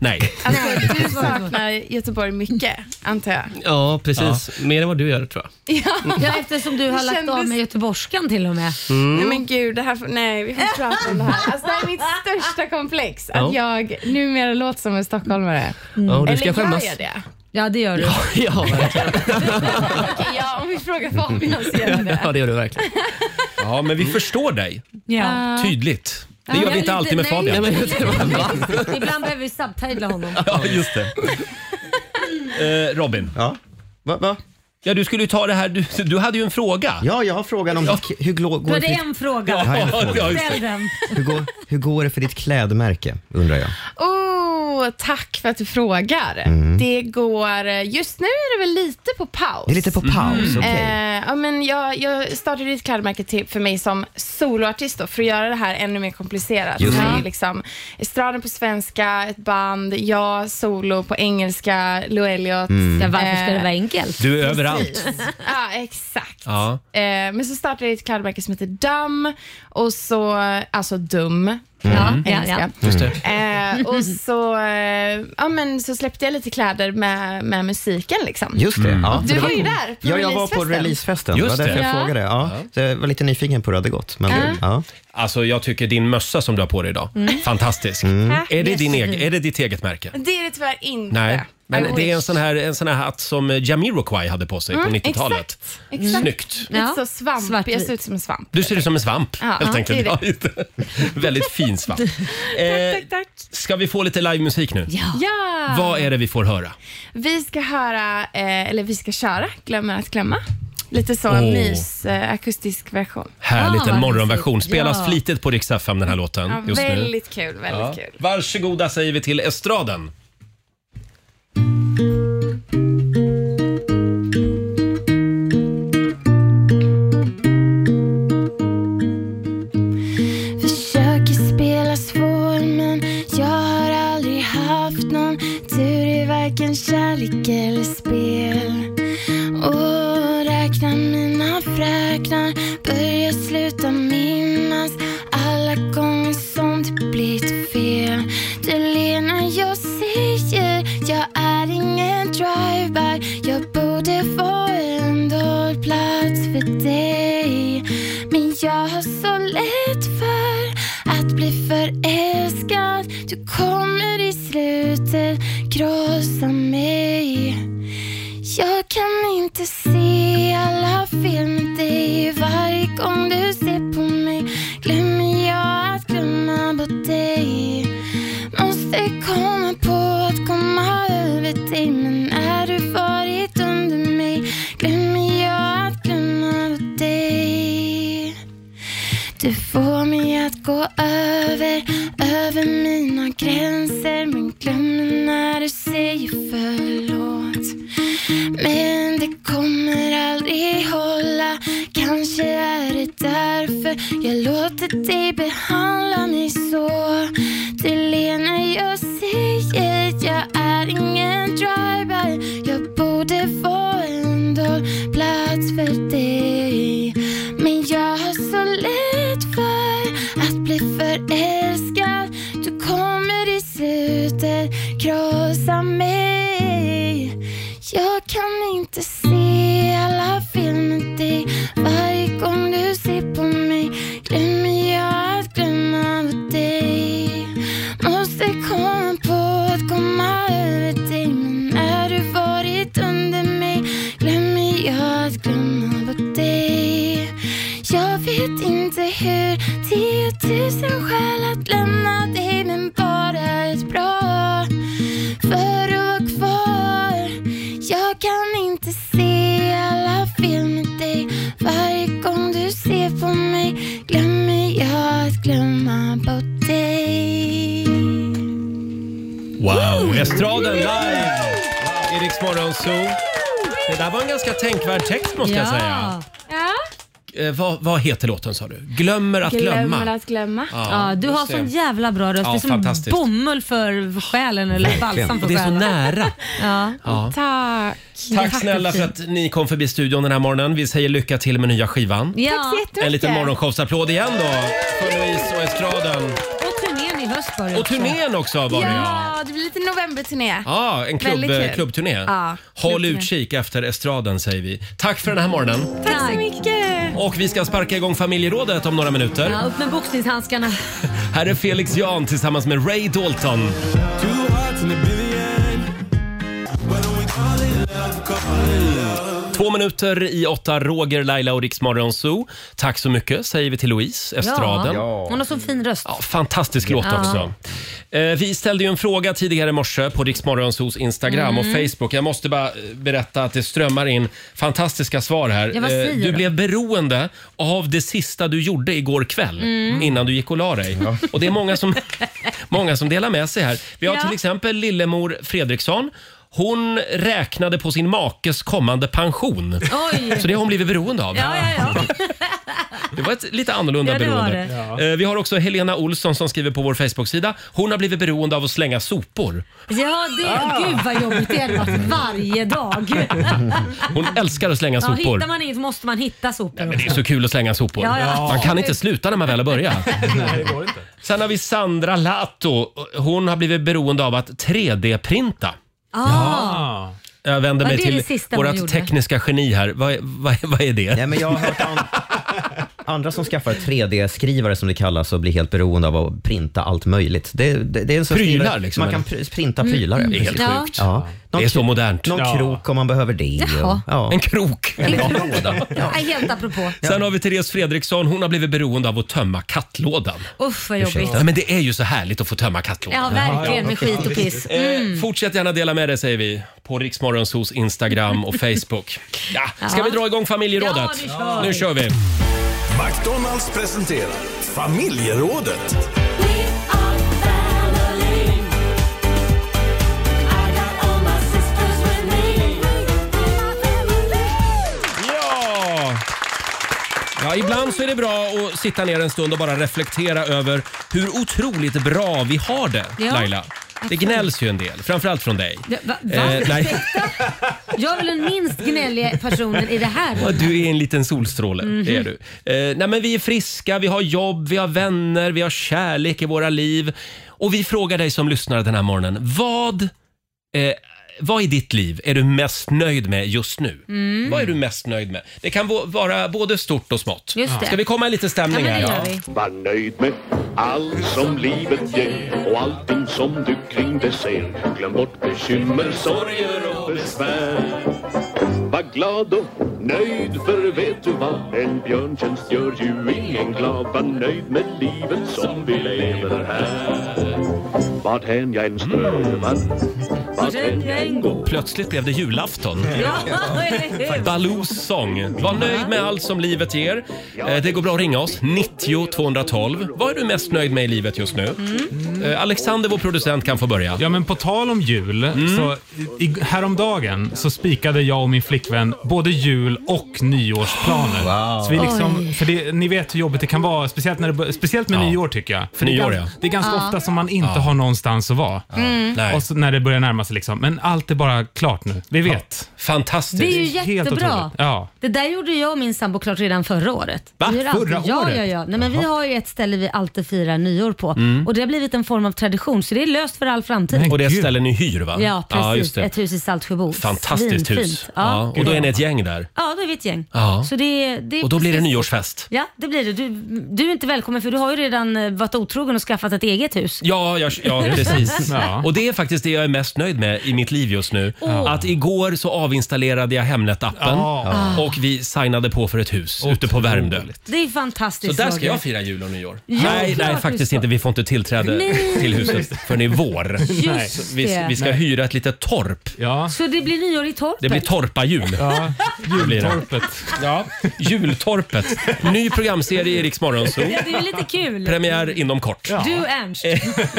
Nej. Alltså, [LAUGHS] du saknar Göteborg mycket, antar jag. Ja, precis. Mer än vad du gör tror jag. Ja, [LAUGHS] Ja, eftersom du har Det lagt av kändes- med göteborgskan till och med. Mm. Nej men gud, det här, får- nej vi får inte prata om det här. Alltså, det här [LAUGHS] är mitt största komplex, att jag numera låter som en stockholmare. Ja, och du ska Eller skämmas. gör jag det? Mm. Ja, det gör du. Ja, Mm-hmm. [LAUGHS] Okej, ja, om vi frågar Fabian så gör jag det. ja det gör du verkligen. Ja, men vi förstår dig. Ja. Tydligt. Det Ja, gör jag vi inte är alltid med lite- [LAUGHS] Fabian. nej. Ibland behöver vi subtitla honom. Ja, just det. Eh, Robin. Ja. Va, va? Ja, du skulle ju ta det här. Du, du hade ju en fråga. Ja, jag har frågan om hur glå- Du går det hade för en [LAUGHS] ditt, fråga. Ja, en fråga. Ja, just det. Ställ den. hur, går, hur går det för ditt klädmärke, undrar jag. Oh, tack för att du frågar. Mm. Det går, just nu är det väl lite på paus. Det är lite på paus, Mm. okej. Eh, ja, men jag, jag startade ett klädmärke till, för mig som soloartist då, för att göra det här ännu mer komplicerat. Just Så det. det är liksom estraden på svenska, ett band, jag solo på engelska, Lou Elliot. Mm. Ja, varför ska det vara enkelt? Du är överallt. ja, exakt. Ja. Eh, men så startade jag ett klädmärke som heter Dum och så, alltså dum. Mm. på Ja, ja, engelska. ja. Just det. Eh, och så, eh, ja, men så släppte jag lite kläder med, med musiken. Liksom. Just det. Ja, Du det var ju där på Ja, jag var på releasefesten. releasefesten. Mm. Just det var därför det. jag Ja. frågade. Ja. Så jag var lite nyfiken på hur det hade gått. Men, Ja. ja. Alltså, jag tycker din mössa som du har på dig idag, Mm. fantastisk. Tack. Är, det din Jättefin. egen, är det ditt eget märke? Det är det tyvärr inte. Nej, men I det är en wish. sån, här, en sån här hatt som Jamiroquai hade på sig Mm, på 90-talet. Exakt. exakt. Snyggt. Lite så svamp. Jag ser ut som en svamp. Du ser ut som en svamp Ja, helt ja, enkelt. det är Ja, det. just det. [LAUGHS] Väldigt fin [LAUGHS] svamp. Eh, Ska vi få lite livemusik nu? Ja. Vad är det vi får höra? Vi ska höra, eh, eller vi ska köra Glömmer att glömma. Lite så Åh. en mys eh, akustisk version. Ah, Härligt, en morgonversion. Spelas Ja. flitigt på Rix FM den här låten Ja, just nu. väldigt kul, väldigt Ja. kul. Varsågoda säger vi till estraden. [LAUGHS] Försöker spela svår men jag har aldrig haft någon tur i varken kärlek eller spel. Och räknar mina fräknar, börjar sluta minnas alla gånger som det blivit fel. Du ler när jag säger jag är ingen drive-by. Jag borde få en dold plats för dig. Men jag har så lätt för att bli förälskad. Du kommer i slutet krossa mig. Jag kan inte se alla fel med dig. Varje gång du ser på mig glömmer jag att glömma bort dig. Måste komma på att komma över dig men när du varit under mig glömmer jag att glömma bort dig. Du får mig att gå över, över mina gränser men glömmer när du säger förlåt. Men det kommer aldrig hålla. Kanske är det därför jag låter dig behandla mig så. Du ler när jag säger jag är ingen driver. Jag borde vara en dold plats för dig. Men jag har så lätt för att bli förälskad. Du kommer i slutet krossa mig. Jag kan inte se alla fel med dig. Varje gång du ser på mig glömmer jag att glömma bort dig. Måste komma på att komma över dig. Men när du varit under mig glömmer jag att glömma bort dig. Jag vet inte hur tiotusen skäl att lämna dig men bara ett bra för att vara kvar. Jag kan inte se alla fel med dig. Varje gång du ser på mig glömmer jag att glömma bort dig. Wow! Estraden live i Rix Morgon Zoo. Det där var en ganska tänkvärd text [LAUGHS] måste jag säga. Ja. Eh, vad, vad heter låten sa du? Glömmer att glömma. Glömmer att glömma. Ja, Ja, du har just det. sån jävla bra röst. Ja, det är som fantastiskt. bomull för själen eller balsam för Det är så själen. nära. [LAUGHS] Ja. Ja. Tack. Tack snälla för att ni kom förbi studion den här morgonen. Vi säger lycka till med nya skivan. Ja. Tack så jättemycket. En liten morgonshowsapplåd igen då för Louise och Estraden. Och turnén i höst var det Och turnén också var det ja. Ja, det blir lite novemberturné. Ja, en klubb, Väldigt kul. klubbturné. Ja, Håll klubbturné. utkik efter Estraden säger vi. Tack för den här morgonen. Tack så mycket. Och vi ska sparka igång familjerådet om några minuter. Ja, upp med boxningshandskarna. Här är Felix Jan tillsammans med Ray Dalton. Två minuter i åtta, Roger, Laila och Riksmorgon Zoo. Tack så mycket säger vi till Louise Estraden. Ja. Hon har så fin röst. Fantastisk låt Ja. också. Eh, Vi ställde ju en fråga tidigare i morse på Riksmorgonsos Instagram Mm. och Facebook. Jag måste bara eh, berätta att det strömmar in fantastiska svar här. Ja, vad säger Eh, du de? blev beroende av det sista du gjorde igår kväll Mm. innan du gick och la dig. Och det är många [LAUGHS] som, många som delar med sig här. Vi har Ja. till exempel Lillemor Fredriksson. Hon räknade på sin makes kommande pension. Oj. Så det har hon blivit beroende av. Ja, ja, ja. Det var ett lite annorlunda Ja, det var beroende. Eh, Vi har också Helena Olsson som skriver på vår Facebook-sida. Hon har blivit beroende av att slänga sopor. Ja, det, Gud vad jobbigt det hade varit [LAUGHS] varje dag. Hon älskar att slänga Ah. Ja, sopor. hittar man inget måste man hitta sopor. Men det är så kul att slänga sopor. Ja, ja. Man kan inte sluta när man väl har börjat. [LAUGHS] Sen har vi Sandra Lato. Hon har blivit beroende av att 3D-printa. Ah. Jag vänder Var mig det det till sista hon vårt gjorde? tekniska geni här. Vad, vad, vad är det? Nej, men jag [LAUGHS] har hört Andra som skaffar 3D-skrivare som det kallas och blir helt beroende av att printa allt möjligt. Det, det, det är en sorts Prylar, skrivare- liksom, Man kan eller? pr- printa prylar. Mm, mm. precis. Det är helt sjukt. Ja. Det är så modernt. Någon Ja. krok om man behöver det. Jaha. En krok. Eller en låda. Nej, helt apropå. Sen har vi Therese Fredriksson. Hon har blivit beroende av att tömma kattlådan. Usch vad jobbigt. Ja, men det är ju så härligt att få tömma kattlådan. Ja, verkligen, med skit och piss. Mm. Eh, fortsätt gärna dela med dig säger vi på Riksmorgonsos Instagram [LAUGHS] och Facebook. Ja, ska Ja. vi dra igång familjerådet? Ja, nu nu kör kör vi! McDonalds presenterar Familjerådet. Ja! Ja, ibland så är det bra att sitta ner en stund och bara reflektera över hur otroligt bra vi har det, Ja. Laila. Det Absolut. gnälls ju en del, framförallt från dig. Ja, va, va? Eh, nej. [LAUGHS] Jag är väl den minst gnälliga personen i det här Ja, Du är en liten solstråle. Mhm. Det är du. Eh, nej, men vi är friska, vi har jobb, vi har vänner, vi har kärlek i våra liv. Och vi frågar dig som lyssnar den här morgonen. Vad, eh, vad i ditt liv är du mest nöjd med just nu? Mm. Vad är du mest nöjd med? Det kan vå- vara både stort och smått. Just det. Ska vi komma i lite stämning Ja, men det här? gör vi. Var nöjd med allt som livet ger och allting som du kring dig ser. Glöm bort bekymmer, sorger och besvär. Var glad och nöjd, för vet du vad? En björntjänst gör ju ingen glad. Var nöjd med livet som vi lever här. Vart hän jag än strövar, var Plötsligt blev det julafton. Ja, eller hur? Baloos sång. Var nöjd med allt som livet ger. Eh, Det går bra att ringa oss. 90 212. Vad är du mest nöjd med i livet just nu? Mm. Eh, Alexander, vår producent, kan få börja. Mm. Ja, men på tal om jul, så i, häromdagen så spikade jag och min flickvän både jul och nyårsplaner. Så vi liksom, Oj. för det, ni vet hur jobbigt det kan vara, speciellt, när det, bör- speciellt med nyår tycker jag. För Nyår, det, är, gan- ja. det är ganska Ja. ofta som man inte Ja. har någonstans att vara. Mm. Nej. Och så när det börjar närma sig liksom. Men allt är bara klart nu. Vi vet. Fantastiskt. Det är ju jättebra. Ja. Det där gjorde jag och min sambo klart redan förra året. Va? Vi gör alltid- Förra ja, året? Ja, ja. Nej, men vi Jaha. har ju ett ställe vi alltid firar nyår på Mm. och det har blivit en form av tradition så det är löst för all framtid. Och det ställer ni hyr va? Ja, precis. just det. Ett hus i Saltsjöbo. Fantastiskt Svinfint. hus. Ja. Ja, och då är ni ett gäng där. Ja, då är vi ett gäng. Ja. Så det, det Och då blir det precis- nyårsfest. Ja, det blir det. Du, du är inte välkommen för du har ju redan eh, varit otrogen och skaffat ett eget hus. Ja, jag, ja precis. [LAUGHS] Ja. Och det är faktiskt det jag är mest nöjd med i mitt liv just nu. Ja. Att igår så avinstallerade jag Hemnet-appen Ja. och vi signade på för ett hus ute på Värmdö. Det är fantastiskt. Så där ska Roger. jag fira jul och nyår. Ja, nej, klart nej, du faktiskt ska. inte. Vi får inte tillträde Nej. till huset förrän i vår. Just Nej. Så vi, det. vi ska Nej. hyra ett litet torp. Så det blir nyår i torpet? Det blir torpa-jul. Ja, Det blir det. jultorpet. Ja, jultorpet. Ny programserie i Rix [LAUGHS] Ja, Morgonzoo. det är lite kul. Premiär inom kort. Du Ernst.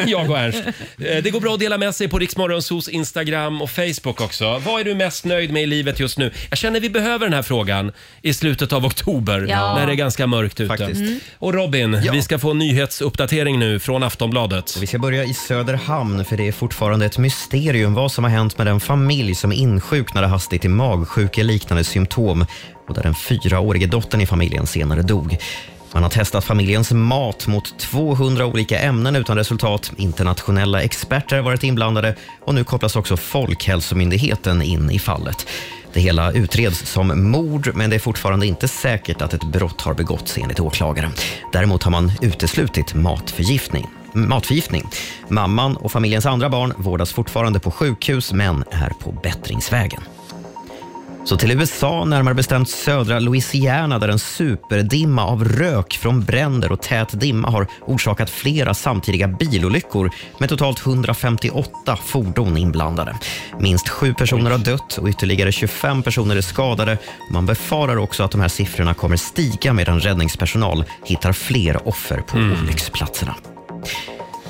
Jag och Ernst. Eh, Det går bra att dela med sig på Riksmorgonsos Instagram och Facebook också. Vad är du mest nöjd med i livet just nu? Jag känner vi behöver den här frågan i slutet av oktober Ja. när det är ganska mörkt ute. Faktiskt. Mm. Och Robin, vi ska få en nyhetsuppdatering nu från Aftonbladet. Vi ska börja i Söderhamn för det är fortfarande ett mysterium vad som har hänt med den familj som insjuknade hastigt i magsjukeliknande symptom och där den fyraårige dottern i familjen senare dog. Man har testat familjens mat mot 200 olika ämnen utan resultat. Internationella experter har varit inblandade och nu kopplas också Folkhälsomyndigheten in i fallet. Det hela utreds som mord, men det är fortfarande inte säkert att ett brott har begåtts enligt åklagaren. Däremot har man uteslutit matförgiftning. Matförgiftning. Mamman och familjens andra barn vårdas fortfarande på sjukhus, men är på bättringsvägen. Så till USA, närmare bestämt södra Louisiana där en superdimma av rök från bränder och tät dimma har orsakat flera samtidiga bilolyckor med totalt 158 fordon inblandade. Minst sju personer har dött och ytterligare 25 personer är skadade. Man befarar också att de här siffrorna kommer stiga medan räddningspersonal hittar fler offer på olycksplatserna.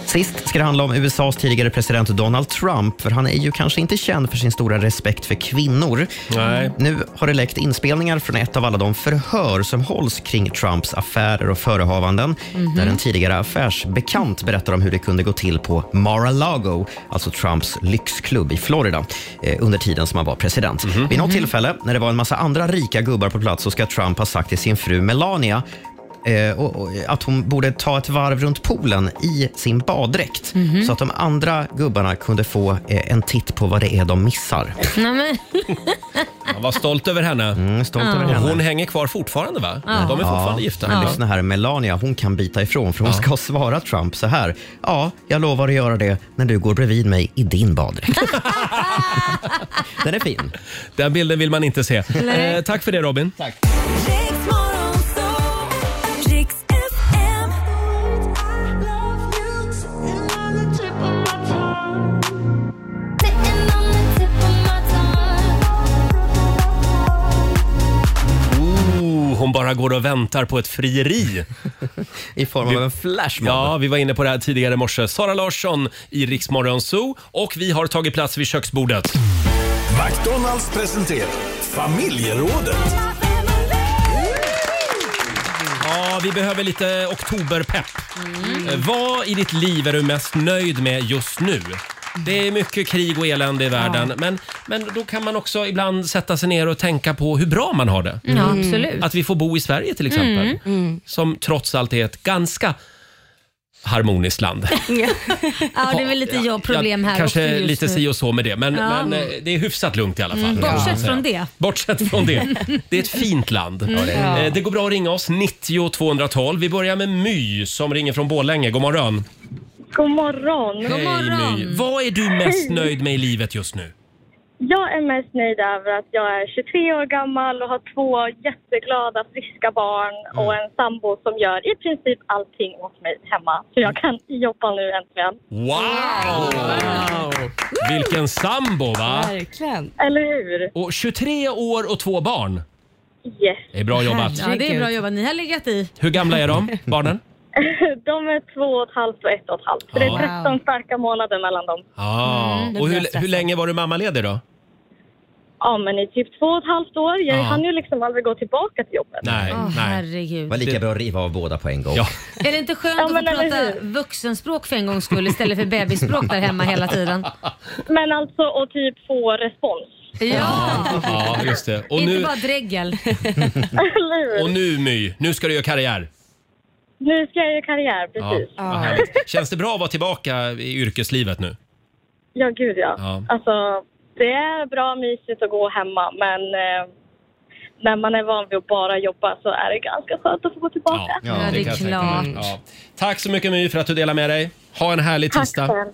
Sist ska det handla om USAs tidigare president Donald Trump, för han är ju kanske inte känd för sin stora respekt för kvinnor. Nu har det läckt inspelningar från ett av alla de förhör som hålls kring Trumps affärer och förehavanden, Mhm. där en tidigare affärsbekant berättar om hur det kunde gå till på Mar-a-Lago, alltså Trumps lyxklubb i Florida, eh, under tiden som han var president. Mhm. Vid något tillfälle, när det var en massa andra rika gubbar på plats, så ska Trump ha sagt till sin fru Melania eh, och, och, att hon borde ta ett varv runt poolen i sin baddräkt Mhm. så att de andra gubbarna kunde få eh, en titt på vad det är de missar. Nej, men, Han var stolt över henne. Mm, stolt Ja. över henne. Och hon hänger kvar fortfarande va? Ja. De är fortfarande gifta. Men lyssna här, Melania hon kan bita ifrån för hon ska [LAUGHS] svara Trump så här. Ja, jag lovar att göra det när du går bredvid mig i [LAUGHS] din baddräkt. Den är fin. Den bilden vill man inte se. Nej. Eh, tack för det Robin. Tack. Oh, hon bara går och väntar på ett frieri. I form av en flashmob. Ja, vi var inne på det här tidigare i morse. Sara Larsson i Rix Morgon Zoo och vi har tagit plats vid köksbordet. McDonalds presenterar familjerådet. Ja, vi behöver lite oktoberpepp. Mm. Eh, Vad i ditt liv är du mest nöjd med just nu? Det är mycket krig och elände i världen, men, men då kan man också ibland sätta sig ner och tänka på hur bra man har det. Ja, absolut. Att vi får bo i Sverige till exempel, Mm. Mm. som trots allt är ett ganska harmoniskt land. ja, det är väl lite jag problem här också Kanske just lite nu. si och så med det, men, Ja. men eh, det är hyfsat lugnt i alla fall. Mm, kan man bortsett säga. från det. Bortsett från [LAUGHS] det. Det är ett fint land. Mm. Ja, det är det. Eh, Det går bra att ringa oss, 90 212. Vi börjar med My som ringer från Borlänge. God morgon. God morgon. Hej My. Vad är du mest nöjd med i livet just nu? Jag är mest nöjd över att jag är 23 år gammal och har två jätteglada, friska barn och Mm. en sambo som gör i princip allting åt mig hemma. Så jag kan jobba nu äntligen. Wow! Vilken sambo va? Verkligen. Eller hur? Och 23 år och två barn. Yes. Det är bra jobbat. Ja, det är bra jobbat. Mm, Ni har legat i. Hur gamla är de, barnen? [LAUGHS] De är två och ett halvt och ett och ett halvt. Så det Wow. är 13 starka månader mellan dem. Ja. Mm, det Ah, och blir hur, stressad. hur länge var du mammaledig [LAUGHS] då? Ja, men i typ två och ett halvt år. Jag Ja. hann ju liksom aldrig gå tillbaka till jobbet. Nej, Åh, herregud. Det var lika bra att riva av båda på en gång. Är det inte skönt att få prata vuxenspråk för en gångs skull istället för bebisspråk där hemma hela tiden? Men alltså, och typ få respons. Ja, Ja, just det. Och inte nu, bara dregel. och nu My, nu ska du göra karriär. [LAUGHS] Nu ska jag göra karriär, Ja, precis. vad härligt. Känns det bra att vara tillbaka i yrkeslivet nu? Ja, gud ja. Ja. Alltså, det är bra mysigt att gå hemma, men eh, när man är van vid att bara jobba så är det ganska skönt att få gå tillbaka. kan jag tänka mig. Ja. Tack så mycket My för att du delar med dig. Ha en härlig Tack tisdag. själv.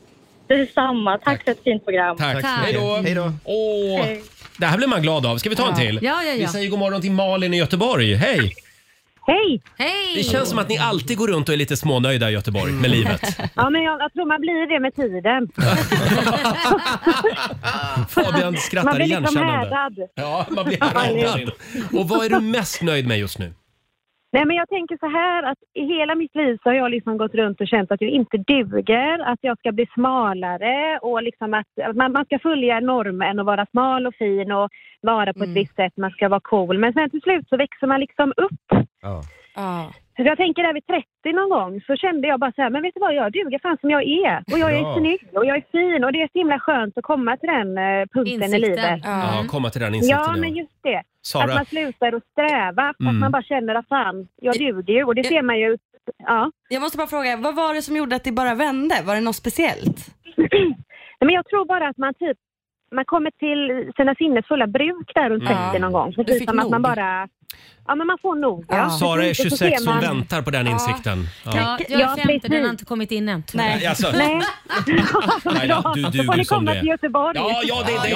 Detsamma. Tack, för ett fint program. Tack. Hej då. Hej då. Åh, Hej. det här blir man glad av. Ska vi ta en Ja. till? Ja, ja, ja. Vi säger god morgon till Malin i Göteborg. Hej! Hej! Hej! Det känns som att ni alltid går runt och är lite smånöjda i Göteborg med livet. Ja, men jag, jag tror man blir det med tiden. Fabian man skrattar blir liksom igenkännande. härdad. Ja, man blir härdad. Och vad är du mest nöjd med just nu? Nej, men jag tänker så här att i hela mitt liv så har jag liksom gått runt och känt att jag inte duger, att jag ska bli smalare och liksom att att man, man ska följa normen och vara smal och fin och vara på Mm. ett visst sätt, man ska vara cool. Men sen till slut så växer man liksom upp. Så jag tänker där vid 30 någon gång så kände jag bara så här, men vet du vad, jag duger fan som jag är. Och jag är Ja. snygg och jag är fin och det är så himla skönt att komma till den eh, punkten i livet. Ja, komma till den insikten. Ja, men just det. Sara. Att man slutar att sträva, att Mm. man bara känner att fan, jag duger ju. Och det ser man ju. Ja. Jag måste bara fråga, vad var det som gjorde att det bara vände? Var det något speciellt? [CLEARS THROAT] Nej, Men jag tror bara att man typ, man kommer till sina sinnes fulla bruk där runt Mm. 30 någon gång. Du Precis fick som att man nog. bara, ja men man får nog. Ja. Sara är Precis, och så 26 ser och man- väntar på den insikten. Ja, jag Ja, är 50, den har precis. inte kommit in än. Nej. Alltså. Nej. Nej då, du Då får duger ni som komma det till är. Göteborg. Ja, ja, det är det.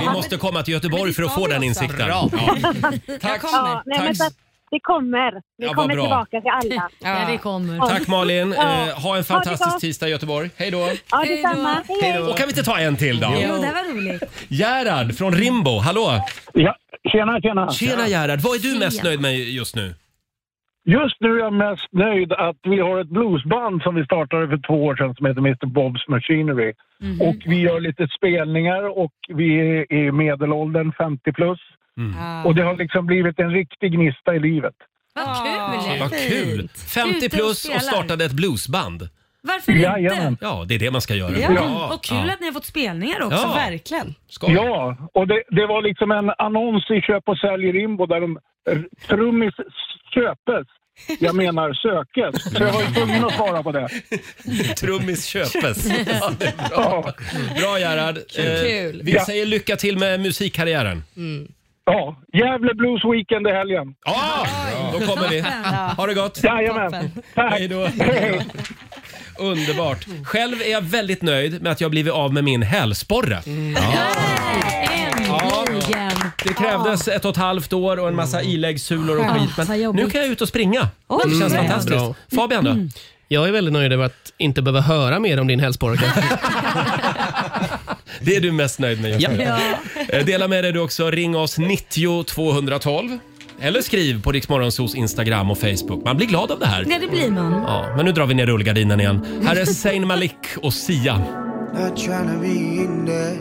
Vi måste komma till Göteborg för att få den insikten. Bra. Ja. Tack. kommer. Ja, nej, men Tack. så att det kommer. Det Ja, vad kommer bra. tillbaka till alla. Ja, det kommer. Tack Malin. Ja. Eh, ha en Ha det fantastisk bra. tisdag i Göteborg. Hej då. Ja, detsamma. Hej, hej. Och kan vi inte ta en till då? Jo, det här var roligt. Gerhard från Rimbo, hallå! Ja, tjena, tjena. Tjena Gerhard, vad är du mest Tjena. nöjd med just nu? Just nu är jag mest nöjd att vi har ett bluesband som vi startade för två år sedan som heter Mr. Bob's Machinery. Och vi gör lite spelningar och vi är i medelåldern 50 plus. Och det har liksom blivit en riktig gnista i livet. Vad kul! Vad kul! 50 Ute plus spelar. och startade ett bluesband. Varför inte? Ja, det är det man ska göra. Ja, och kul att ni har fått spelningar också. Ja. Verkligen. Ja, och det, det var liksom en annons i Köp och sälj i Rimbo där de r- trummis köpes. Jag menar sökes. Så jag var ju tvungen att svara på det. Trummis köpes. Ja, det är bra. bra Gerhard. Eh, Kul. vi Ja. säger lycka till med musikkarriären. Ja, Gävle Blues Weekend i helgen. Ja, då kommer vi. Ha det gott. Jajamän. Tack. Hej då. Underbart. Själv är jag väldigt nöjd med att jag blivit av med min hälsporre. Äntligen! Det krävdes ett och ett halvt år och en massa Mm. iläggssulor och Ah, skit. vad Men jobbigt. nu kan jag ut och springa. Oj, Mm. det känns bra. fantastiskt. Bra. Fabian då? Jag är väldigt nöjd över att inte behöva höra mer om din hälsporre. [LAUGHS] Det är du mest nöjd med just nu. Eh, Dela med dig du också. Ring oss 90 212. Eller skriv på Riksmorgonsos Instagram och Facebook. Man blir glad av det här. Nej, det blir man. Ja, men nu drar vi ner rullgardinen igen. Här är Zayn Malik och Sia. Not tryna be in there.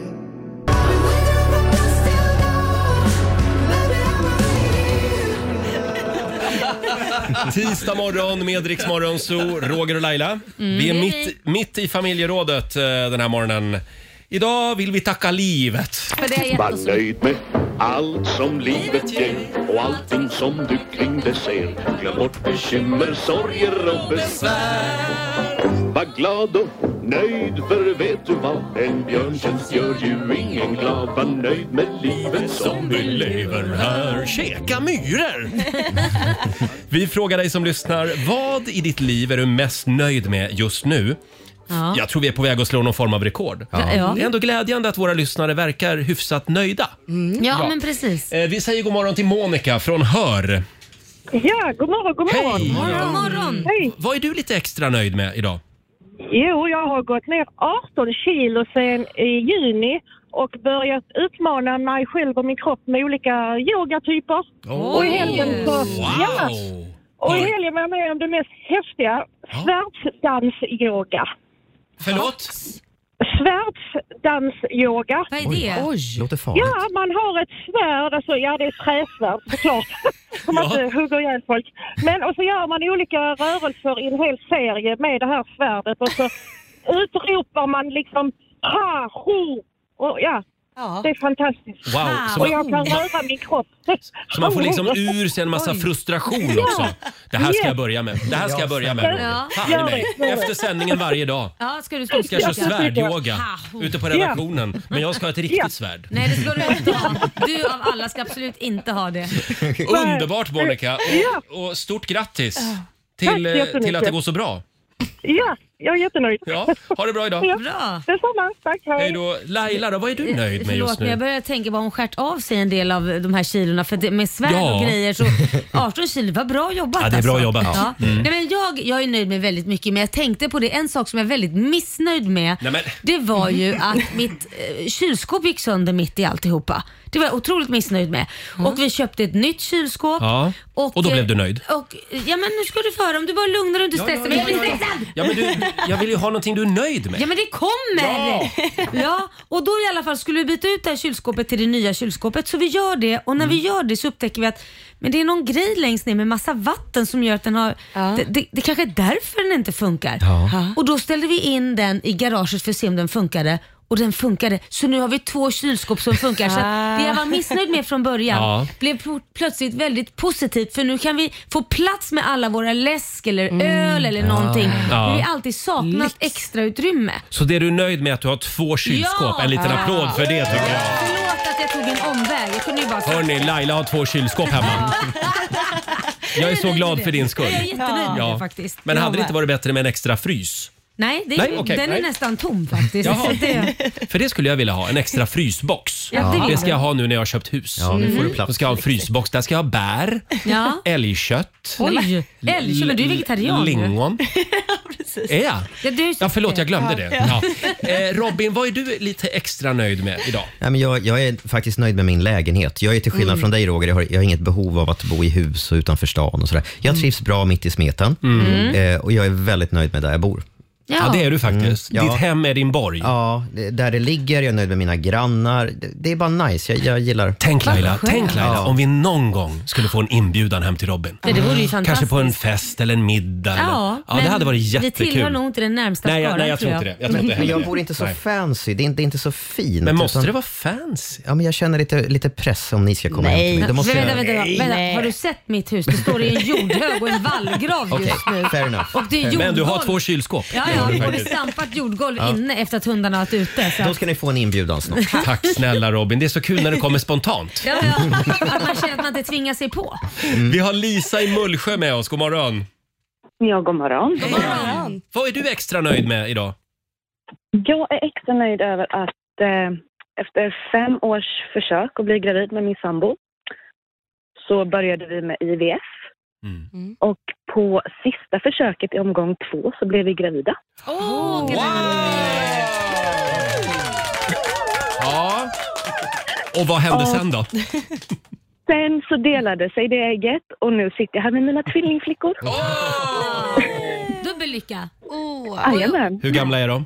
[LAUGHS] Tisdag morgon med Riksmorgon Zoo, Roger och Laila. Mm. Vi är mitt, mitt i familjerådet eh, den här morgonen. Idag vill vi tacka livet. För det har gett Var oss- nöjd med allt som livet ger och allting som du kring det ser. Glöm bort bekymmer, sorger och besvär. Var glad och nöjd, för vet du vad? En björntjänst gör ju ingen glad. Var nöjd med livet som vi lever här. Käka [LAUGHS] myror! Vi frågar dig som lyssnar, vad i ditt liv är du mest nöjd med just nu? Ja. Jag tror vi är på väg att slå någon form av rekord. Ja. Ja. Det är ändå glädjande att våra lyssnare verkar hyfsat nöjda. Mm. Ja, Ja. men precis. Eh, Vi säger god morgon till Monica från Hör. Ja, god morgon, god morgon. Hej! God morgon. Hej. Vad är du lite extra nöjd med idag? Jo, jag har gått ner 18 kilo sedan i juni och börjat utmana mig själv och min kropp med olika yogatyper. Åh. Och i helgen så... Wow. Ja. Och i helgen var jag med om det mest häftiga, svärdsdansyoga. Förlåt? Svärdsdansyoga. Vad Oj. Oj. Låter farligt. Ja, man har ett svärd, alltså, ja det är ett träsvärd [LAUGHS] såklart. Så man Ja. inte hugger ihjäl folk. Men och så gör man olika rörelser i en hel serie med det här svärdet och så utropar man liksom ha, ho, och ja. Det är fantastiskt. Wow, så och man- jag kan man- röra min kropp. Så man får liksom ur sig en massa Oj. frustration Ja. också. Det här ska Ja. jag börja med. Det här ska jag börja med. Ja. Roger. Fan i mig. Gör det, gör det. Efter sändningen varje dag. Ja, ska du Ska jag köra svärdyoga Ha, ho. ute på redaktionen. Men jag ska ha ett Ja. riktigt svärd. Nej, det ska du inte ha. Du av alla ska absolut inte ha det. [LAUGHS] Underbart Monica! Och, och stort grattis till, eh, till att det går så bra. Ja, jag är jättenöjd. Ja, ha det bra idag. Ja. Bra. Detsamma, tack. Hej då. Laila då, vad är du nöjd med Eh, Förlåt, just men jag nu? börjar tänka på hon skärt av sig en del av de här kilorna för att det, med svärd Ja. och grejer så [LAUGHS] 18 kilo, vad bra jobbat Ja, det är bra alltså. jobbat. Ja. Mm. Nej, men jag, jag är nöjd med väldigt mycket men jag tänkte på det, en sak som jag är väldigt missnöjd med Nej, men- det var ju att mitt eh, kylskåp gick sönder mitt i alltihopa. Det var jag otroligt missnöjd med. Och vi köpte ett nytt kylskåp. Mm. Ja. Och då eh, blev du nöjd? Och, ja men nu ska du föra om du bara lugnar dig och inte Ja, stressar. ja, men ja, jag blir ja, ja. [LAUGHS] stressad! Ja, men du, jag vill ju ha någonting du är nöjd med. Ja men det kommer! Ja. och då i alla fall skulle vi byta ut det här kylskåpet till det nya kylskåpet så vi gör det och när vi gör det så upptäcker vi att men det är någon grej längst ner med massa vatten som gör att den har... Det, det, det kanske är därför den inte funkar. Ja. Och då ställde vi in den i garaget för att se om den funkade och den funkade. Så nu har vi två kylskåp som funkar. Så att det jag var missnöjd med från början Ja. blev pl- plötsligt väldigt positivt för nu kan vi få plats med alla våra läsk eller öl eller Ja. någonting. Ja. Vi har alltid saknat extra utrymme. Så det är du nöjd med att du har två kylskåp? Ja! En liten applåd för det tycker jag. Förlåt att jag tog en omväg. Jag kunde ju bara [LAUGHS] sagt- Hörni, Laila har två kylskåp hemma. Jag är så glad för din skull. Jag är jättenöjd med det faktiskt. Men Jag hade det med. inte varit bättre med en extra frys? Nej, det är, Nej, okej, den nej. är nästan tom faktiskt. Jaha. Så det, För det skulle jag vilja ha, en extra frysbox. Ja, det vill det ska du. jag ha nu när jag har köpt hus. Ja, nu får du Mm. plats. Då ska jag ha en frysbox. Där ska jag ha bär, ja. älgkött, Oj, älg. Men du är vegetarian ju. lingon. Är jag? Ja, du är Ja, förlåt, jag glömde Ja. det. Ja. Eh, Robin, vad är du lite extra nöjd med idag? Nej, men jag, jag är faktiskt nöjd med min lägenhet. Jag är till skillnad Mm. från dig Roger, jag har, jag har inget behov av att bo i hus och utanför stan och sådär. Mm. Jag trivs bra mitt i smeten Mm. eh, och jag är väldigt nöjd med där jag bor. Mm. Ja. Ja, det är du faktiskt. Ditt hem är din borg. Ja, det- där det ligger, jag är nöjd med mina grannar. Det, det är bara nice, jag, jag gillar... Tänk Laila, tänk Laila om vi någon gång skulle få en inbjudan hem till Robin. Ja, det vore ju fantastiskt. Kanske på en fest eller en middag. eller- Ja, ja det men hade varit Vi tillhör jättekul. nog inte den närmsta Nej, jag- skaran nej, jag tror inte det. Jag tror men, inte men jag heller bor det. inte så Nej. fancy, det är inte, det är inte så fint. Men måste det vara fancy? Ja, men jag känner lite, lite press om ni ska komma hem till mig. Då måste vänta, jag... vänta, vänta, vänta. Har du sett mitt hus? Det står i en jordhög och en vallgrav Okej, just nu. fair enough. Och det är Men du har jordgolv. två kylskåp. Ja, Det har du ja. Och det är faktiskt. stampat jordgolv Ja. inne efter att hundarna har varit ute. Så Då att, ska ni få en inbjudan snart. [LAUGHS] Tack snälla Robin, det är så kul när det kommer spontant. ja, ja. Att man känner att man inte tvingar sig på. Mm. Vi har Lisa i Mullsjö med oss, god morgon. Ja, god morgon. Vad är du extra nöjd med idag? Jag är extra nöjd över att eh, efter fem års försök att bli gravid med min sambo så började vi med IVF. Mm. Och på sista försöket i omgång två så blev vi gravida. Åh, Ja. Och vad hände Ja. sen då? [LAUGHS] Sen så delade sig det ägget och nu sitter jag här med mina tvillingflickor. Dubbel lycka. Oh. Jajamän. Hur gamla är de?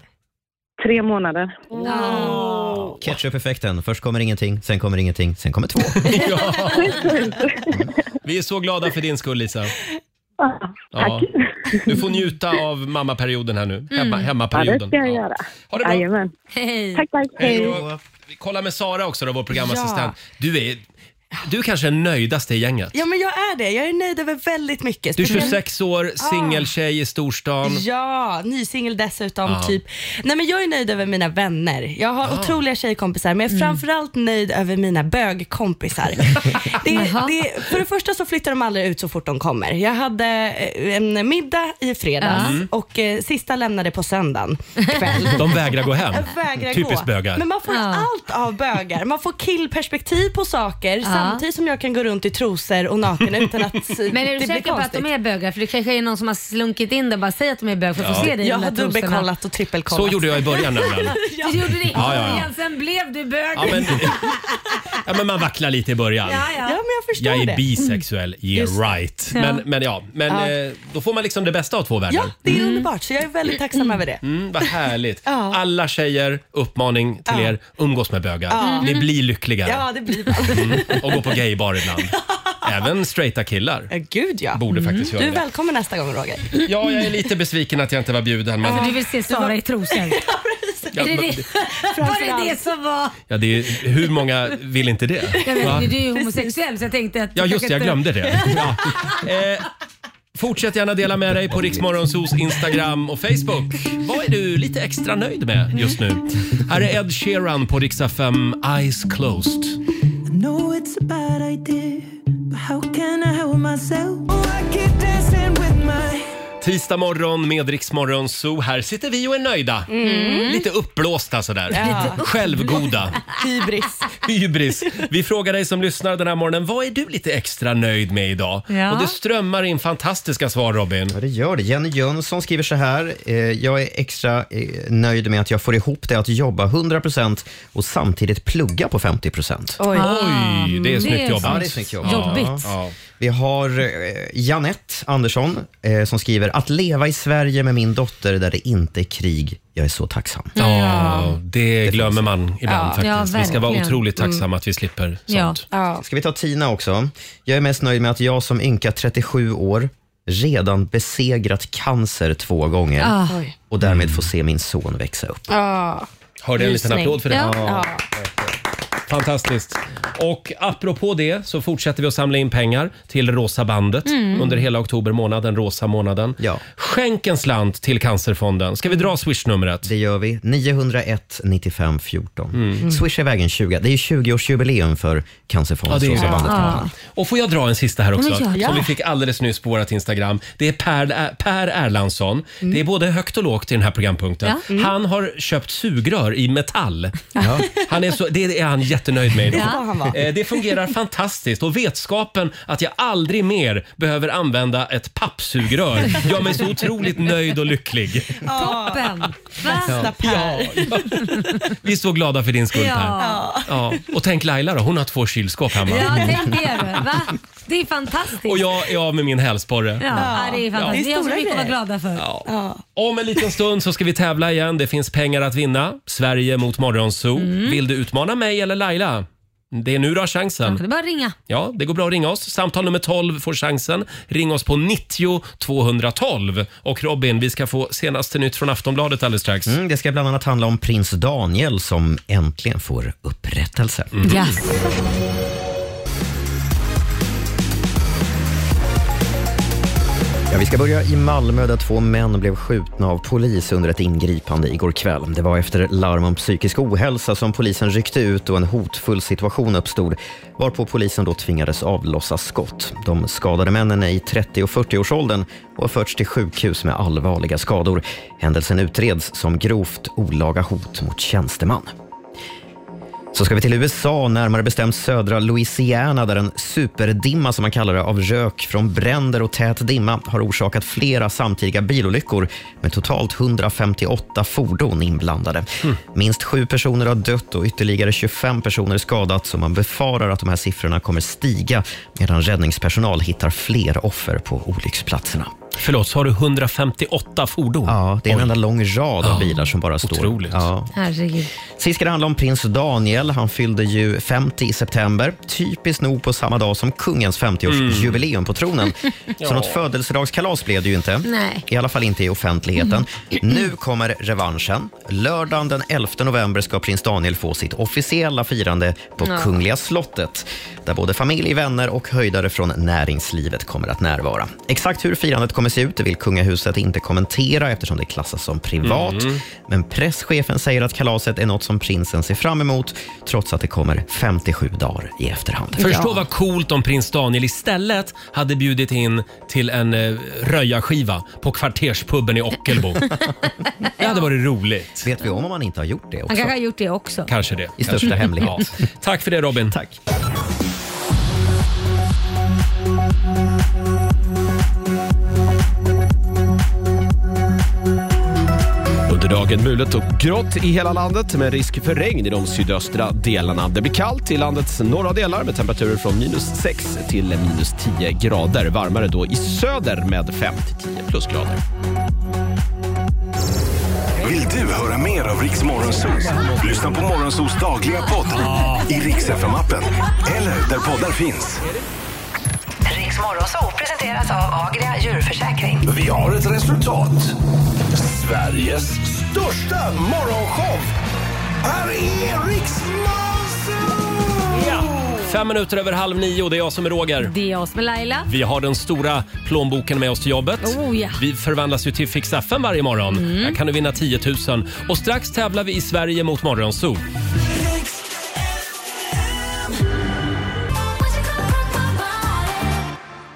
Tre månader. Oh. Ketchup-effekten, först kommer ingenting, sen kommer ingenting, sen kommer två. Vi är så glada för din skull Lisa. Ja. Du får njuta av mammaperioden här Mm. nu. Hemma, Ja, det hemmaperioden. ska jag göra. Ha det bra. Jajamän. Hej. Tack, tack. Hej då. Vi kollar med Sara också då, vår programassistent. Du är Du kanske är nöjdast i gänget. Ja, men jag är det. Jag är nöjd över väldigt mycket. Du är Speciellt- 26 år, Ah. singeltjej i storstan. Ja, nysingel dessutom. Ja. Typ. Nej, men jag är nöjd över mina vänner. Jag har Ah. otroliga tjejkompisar, men jag är Mm. framförallt nöjd över mina [LAUGHS] bögkompisar. det, det, för det första så flyttar de aldrig ut så fort de kommer. Jag hade eh, en middag i fredags Ja. Mm. och eh, sista lämnade på söndagen. [LAUGHS] De vägrar gå hem. Jag vägrar Typiskt gå. bögar. Men man får allt av bögar. Man får killperspektiv på saker samtidigt som jag kan gå runt i trosor och naken utan att s- [LAUGHS] Men är du säker på att de är bögar? För det kanske är någon som har slunkit in där bara säg att de är bögar för att Ja. få se dig i Jag de har där trosorna." dubbelkollat [LAUGHS] och trippelkollat. Så gjorde jag i [LAUGHS] början nämligen. Du gjorde det i Ja, ja, ja. början, sen blev du bög. Ja, men, ja, men man vacklar lite i början. ja, men jag förstår Jag det. Mm. [LAUGHS] är bisexuell, Just det. yeah right. Ja. Men, men ja, men Ja. eh, då får man liksom det bästa av två världar. Ja, det är underbart. Så jag är väldigt tacksam över det. Mm, vad härligt. Ja. Alla tjejer, uppmaning till Ja. er, umgås med bögar. Ja. Mm. Ni blir lyckligare. Ja, det [LAUGHS] blir bra. Mm. Och gå på gaybar ibland. [LAUGHS] Även straighta killar. Gud ja. Mm. Borde faktiskt Du göra är det. välkommen nästa gång Roger. Ja, jag är lite besviken att jag inte var bjuden. Men... För du vill se Sara i trosor. Ja, Är det men- det? Var det det som var... Ja, det är, hur många vill inte det? Jag vet, Va? inte, du är ju homosexuell så jag tänkte att... Ja, just det. Jag glömde det. Ja. Eh, fortsätt gärna dela med dig på Riksmorgonsos Instagram och Facebook. Vad är du lite extra nöjd med just nu? Här är Ed Sheeran på Riksa 5, Eyes Closed. I know it's a bad idea, but how can I help myself? Oh, I keep dancing with my Tisdag morgon med Riksmorgon Zoo. Här sitter vi och är nöjda. Mm. Lite uppblåsta sådär. Ja. Självgoda. [LAUGHS] Hybris. Hybris. Vi frågar dig som lyssnar den här morgonen, vad är du lite extra nöjd med idag? Ja. Och det strömmar in fantastiska svar Robin. Ja, det gör det. Jenny Jönsson skriver så här. Eh, jag är extra eh, nöjd med att jag får ihop det att jobba 100% och samtidigt plugga på 50%. Oj. Oj, det är snyggt Det är jobbat. Ja, det är snyggt jobbat. Jobbigt. Ja. Vi har eh, Janette Andersson eh, som skriver att leva i Sverige med min dotter där det inte är krig. Jag är så tacksam. Ja, det glömmer man ibland Ja. faktiskt. Ja, vi ska vara verkligen. otroligt tacksamma Mm. att vi slipper. Ja. Ska vi ta Tina också? Jag är mest nöjd med att jag som ynka 37 år redan besegrat cancer två gånger Ah. Oj. och därmed får se min son växa upp. Ja. Hörde en liten Rysning. applåd för det. Ja. Ja. Fantastiskt. Och apropå det så fortsätter vi att samla in pengar till Rosa bandet Mm. under hela oktober månad, den rosa månaden. Skänk en slant till Cancerfonden. Ska vi dra swishnumret? Mm. Det gör vi. 901 95 14. Swish är vägen 20. Det är ju 20-årsjubileum för Ja, Cancerfondens det är Rosa det. bandet-kampanj. Och får jag dra en sista här också? Ja, men gör det. Som vi fick alldeles nyss på vårt Instagram. Det är Per, per Erlandsson. Det är både högt och lågt i den här programpunkten. Mm. Ja. Mm. Han har köpt sugrör i metall. Han är så, det är han jättenöjd med idag. Det ska han vara. Eh, Det fungerar fantastiskt och vetskapen att jag aldrig mer behöver använda ett pappsugrör gör mig så otroligt nöjd och lycklig. Toppen! Ja. Ja. Vi är så glada för din skull Per. Ja. Ja. Och tänk Laila då, hon har två kylskåp hemma. Ja, tänk det du. Va? Det är fantastiskt. Och jag är av med min hälsporre. Ja, ja, det är fantastiskt. Det är också mycket att vara glada för. Om en liten stund så ska vi tävla igen. Det finns pengar att vinna. Sverige mot Morgonzoo. Mm. Vill du utmana mig eller Laila? Det är nu du har Det är chansen. bara att ringa. Ja, det går bra att ringa oss. Samtal nummer 12 får chansen. Ring oss på 90 212. Och Robin, vi ska få senaste nytt från Aftonbladet alldeles strax. Mm, det ska bland annat handla om prins Daniel som äntligen får upprättelse. Mm. Ja. Ja, vi ska börja i Malmö där två män blev skjutna av polis under ett ingripande igår kväll. Det var efter larm om psykisk ohälsa som polisen ryckte ut och en hotfull situation uppstod varpå polisen då tvingades avlossa skott. De skadade männen är i 30 och 40-årsåldern och har förts till sjukhus med allvarliga skador. Händelsen utreds som grovt olaga hot mot tjänsteman. Så ska vi till USA, närmare bestämt södra Louisiana där en superdimma som man kallar det av rök från bränder och tät dimma har orsakat flera samtidiga bilolyckor med totalt 158 fordon inblandade. Hmm. Minst sju personer har dött och ytterligare 25 personer skadats och man befarar att de här siffrorna kommer stiga medan räddningspersonal hittar fler offer på olycksplatserna. Förlåt, sa du 158 fordon? Ja, det är en enda lång rad av bilar som bara står. Otroligt. Ja. Herregud. Sist ska det handla om prins Daniel. Han fyllde ju 50 i september. Typiskt nog på samma dag som kungens 50-årsjubileum på tronen. Mm. [LAUGHS] Ja. Så något födelsedagskalas blev det ju inte. Nej. Mm. I alla fall inte i offentligheten. Nu kommer revanschen. Lördagen den 11 november ska prins Daniel få sitt officiella firande på Ja. Kungliga slottet. Där både familj, vänner och höjdare från näringslivet kommer att närvara. Exakt hur firandet kommer se ut det vill kungahuset inte kommentera eftersom det klassas som privat. Mm. Men presschefen säger att kalaset är något som prinsen ser fram emot trots att det kommer 57 dagar i efterhand. Förstå vad coolt om prins Daniel istället hade bjudit in till en eh, röjarskiva på kvarterspubben i [LAUGHS] Ockelbo. det hade varit roligt. Vet vi om om han inte har gjort det Han kanske har gjort det också. Kanske det. I största Kanske. hemlighet. Ja. Tack för det Robin. Tack. Under dagen mulet och grått i hela landet med risk för regn i de sydöstra delarna. Det blir kallt i landets norra delar med temperaturer från minus 6 till minus 10 grader. Varmare då i söder med 5 till 10 plusgrader. Vill du höra mer av Riks Morgonzoos? Lyssna på Morgonzoos dagliga podd i Riks FM-appen eller där poddar finns. Riks Morgonzoo presenteras av Agria djurförsäkring. Vi har ett resultat. Sveriges största morgonshow. Här är Riks Fem minuter över halv nio, det är jag som är Roger. Det är jag som är Laila. Vi har den stora plånboken med oss till jobbet. Oh, ja. Vi förvandlas ju till Fix FM varje morgon. Mm. Där kan du vinna 10 000. Och strax tävlar vi i Sverige mot Morgonzoo.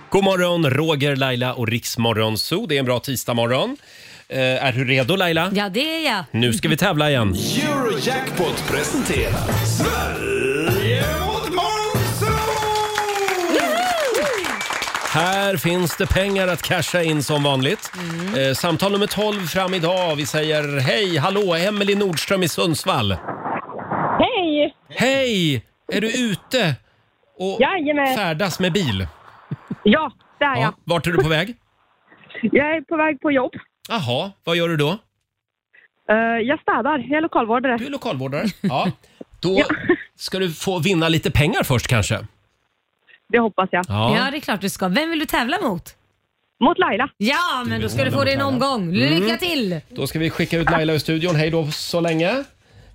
God morgon, Roger, Laila och Riksmorgonzoo. Det är en bra tisdagmorgon. Eh, är du redo Laila? Ja, det är jag. Nu ska vi tävla igen. Eurojackpot presenterar Sverige mot Här finns det pengar att casha in som vanligt. Eh, samtal nummer 12 fram idag. Vi säger hej, hallå, Emelie Nordström i Sundsvall. Hej! Hej! Är du ute och färdas med bil? Ja, det är jag. Vart är du på väg? Jag är på väg på jobb. Jaha, vad gör du då? Eh, jag städar. Jag är lokalvårdare. Du är lokalvårdare? Ja. Då ska du få vinna lite pengar först kanske. Det hoppas jag. Ja. Ja, det är klart du ska. Vem vill du tävla mot? Mot Laila. Ja, men då ska du få din omgång. Lycka Mm. till! Då ska vi skicka ut Laila ur studion. Hej då så länge.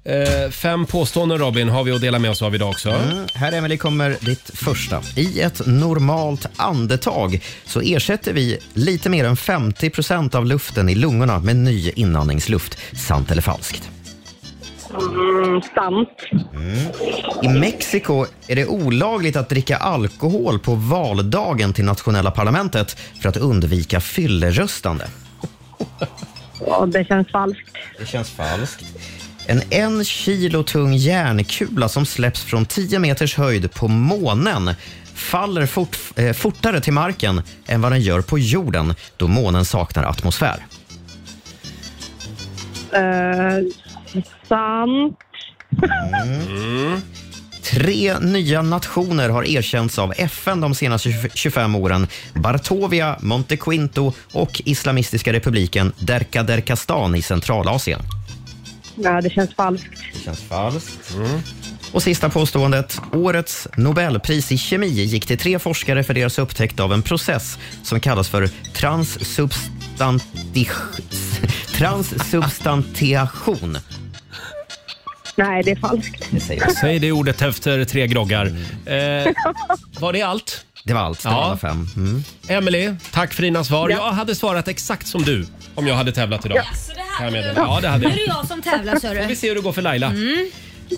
Eh, fem påståenden Robin har vi att dela med oss av idag också. Mm. Här Emelie kommer ditt första. I ett normalt andetag så ersätter vi lite mer än 50 av luften i lungorna med ny inandningsluft. Sant eller falskt? Mm, sant. Mm. I Mexiko är det olagligt att dricka alkohol på valdagen till nationella parlamentet för att undvika fylleröstande. Ja, det känns falskt. Det känns falskt. En en kilo tung järnkula som släpps från 10 meters höjd på månen faller fort, eh, fortare till marken än vad den gör på jorden då månen saknar atmosfär. Eh, sant. Mm. Tre nya nationer har erkänts av FN de senaste 25 åren. Bartovia, Montequinto och Islamistiska republiken Derka Derkastan i Centralasien. Nej, det känns falskt. Det känns falskt. Och sista påståendet. Årets Nobelpris i kemi gick till tre forskare för deras upptäckt av en process som kallas för transsubstanti- transsubstantiation. Nej, det är falskt. Säg det ordet efter tre groggar. Mm. Eh, var det allt? Det var allt. Det Ja. var alla fem. Mm. Emily, tack för dina svar. Ja. Jag hade svarat exakt som du om jag hade tävlat idag. Kan jag meddela. Ja, det hade Nu jag. är det jag som tävlar, så Får du. vi se hur det går för Laila.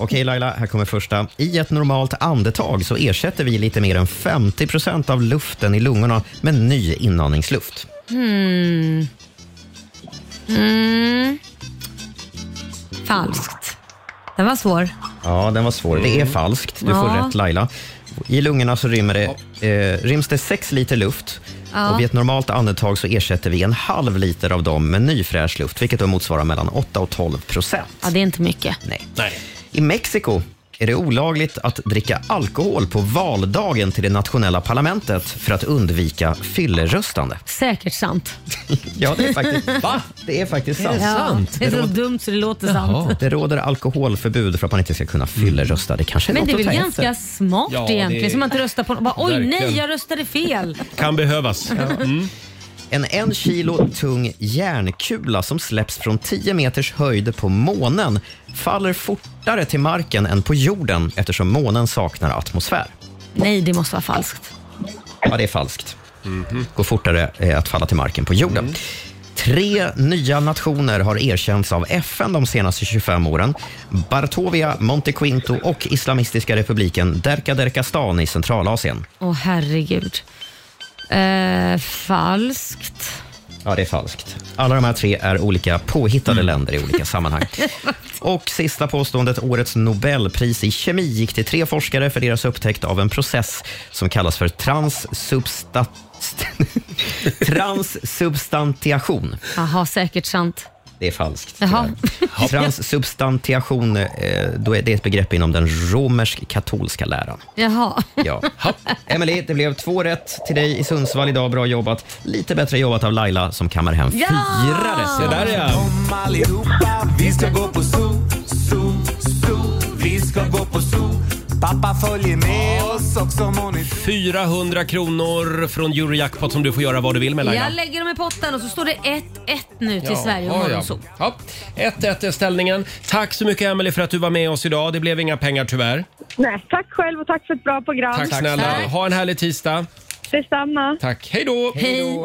Okej Laila, här kommer första. I ett normalt andetag så ersätter vi lite mer än 50 av luften i lungorna med ny inandningsluft. Hmm. Mm. Falskt. Den var svår. Ja, den var svår. Det är falskt. Du får Mm. Ja. rätt Laila. I lungorna så rymmer det, eh, ryms det 6 liter luft. Ja. Och vid ett normalt andetag så ersätter vi en halv liter av dem med ny fräsch luft, vilket då motsvarar mellan 8 och 12 procent. Ja, det är inte mycket. Nej. I Mexiko är det olagligt att dricka alkohol på valdagen till det nationella parlamentet för att undvika [LAUGHS] fylleröstande? Säkert sant. Ja, det är [LAUGHS] [LAUGHS] faktiskt, va? Det är faktiskt sant. Ja, det är så dumt så det låter sant. Det råder alkoholförbud för att man inte ska kunna fyllerösta. Det kanske är Men något det är att väl ta efter. ganska smart Ja, det- egentligen? Så man inte röstar på bara, Oj nej, Verkligen. jag röstade fel. Kan behövas. Mm. En en kilo tung järnkula som släpps från 10 meters höjd på månen faller fortare till marken än på jorden eftersom månen saknar atmosfär. Nej, det måste vara falskt. Ja, det är falskt. Mhm. Går fortare eh, att falla till marken på jorden. Mm. Tre nya nationer har erkänts av FN de senaste 25 åren. Bartovia, Montequinto och Islamistiska republiken Derka Derkastan i Centralasien. Åh herregud. Eh, falskt. Ja, det är falskt. Alla de här tre är olika påhittade länder i olika sammanhang. Och sista påståendet, årets Nobelpris i kemi gick till tre forskare för deras upptäckt av en process som kallas för transsubstat... [LAUGHS] transsubstantiation. Jaha, säkert sant. Det är falskt. Jaha. Transsubstantiation, eh, då är det ett begrepp inom den romersk-katolska läran. Jaha. Ja. Emily, det blev två rätt till dig i Sundsvall idag. Bra jobbat. Lite bättre jobbat av Laila som kammar hem Ja! fyra rätt. Se där, ja. Kom allihopa, vi ska gå på zoo, zoo, zoo. Vi ska gå på zoo. Pappa följer med oss också må ni 400 kronor från Eurojackpot som du får göra vad du vill med Laila. Jag lägger dem i potten och så står det 1-1 nu till Ja, Sverige och ja, ja, ja. Ja, 1-1 är ställningen. Tack så mycket Emelie för att du var med oss idag. Det blev inga pengar tyvärr. Nej, tack själv och tack för ett bra program. Tack, snälla. Ha en härlig tisdag. Detsamma. Tack. Hej då! Hej.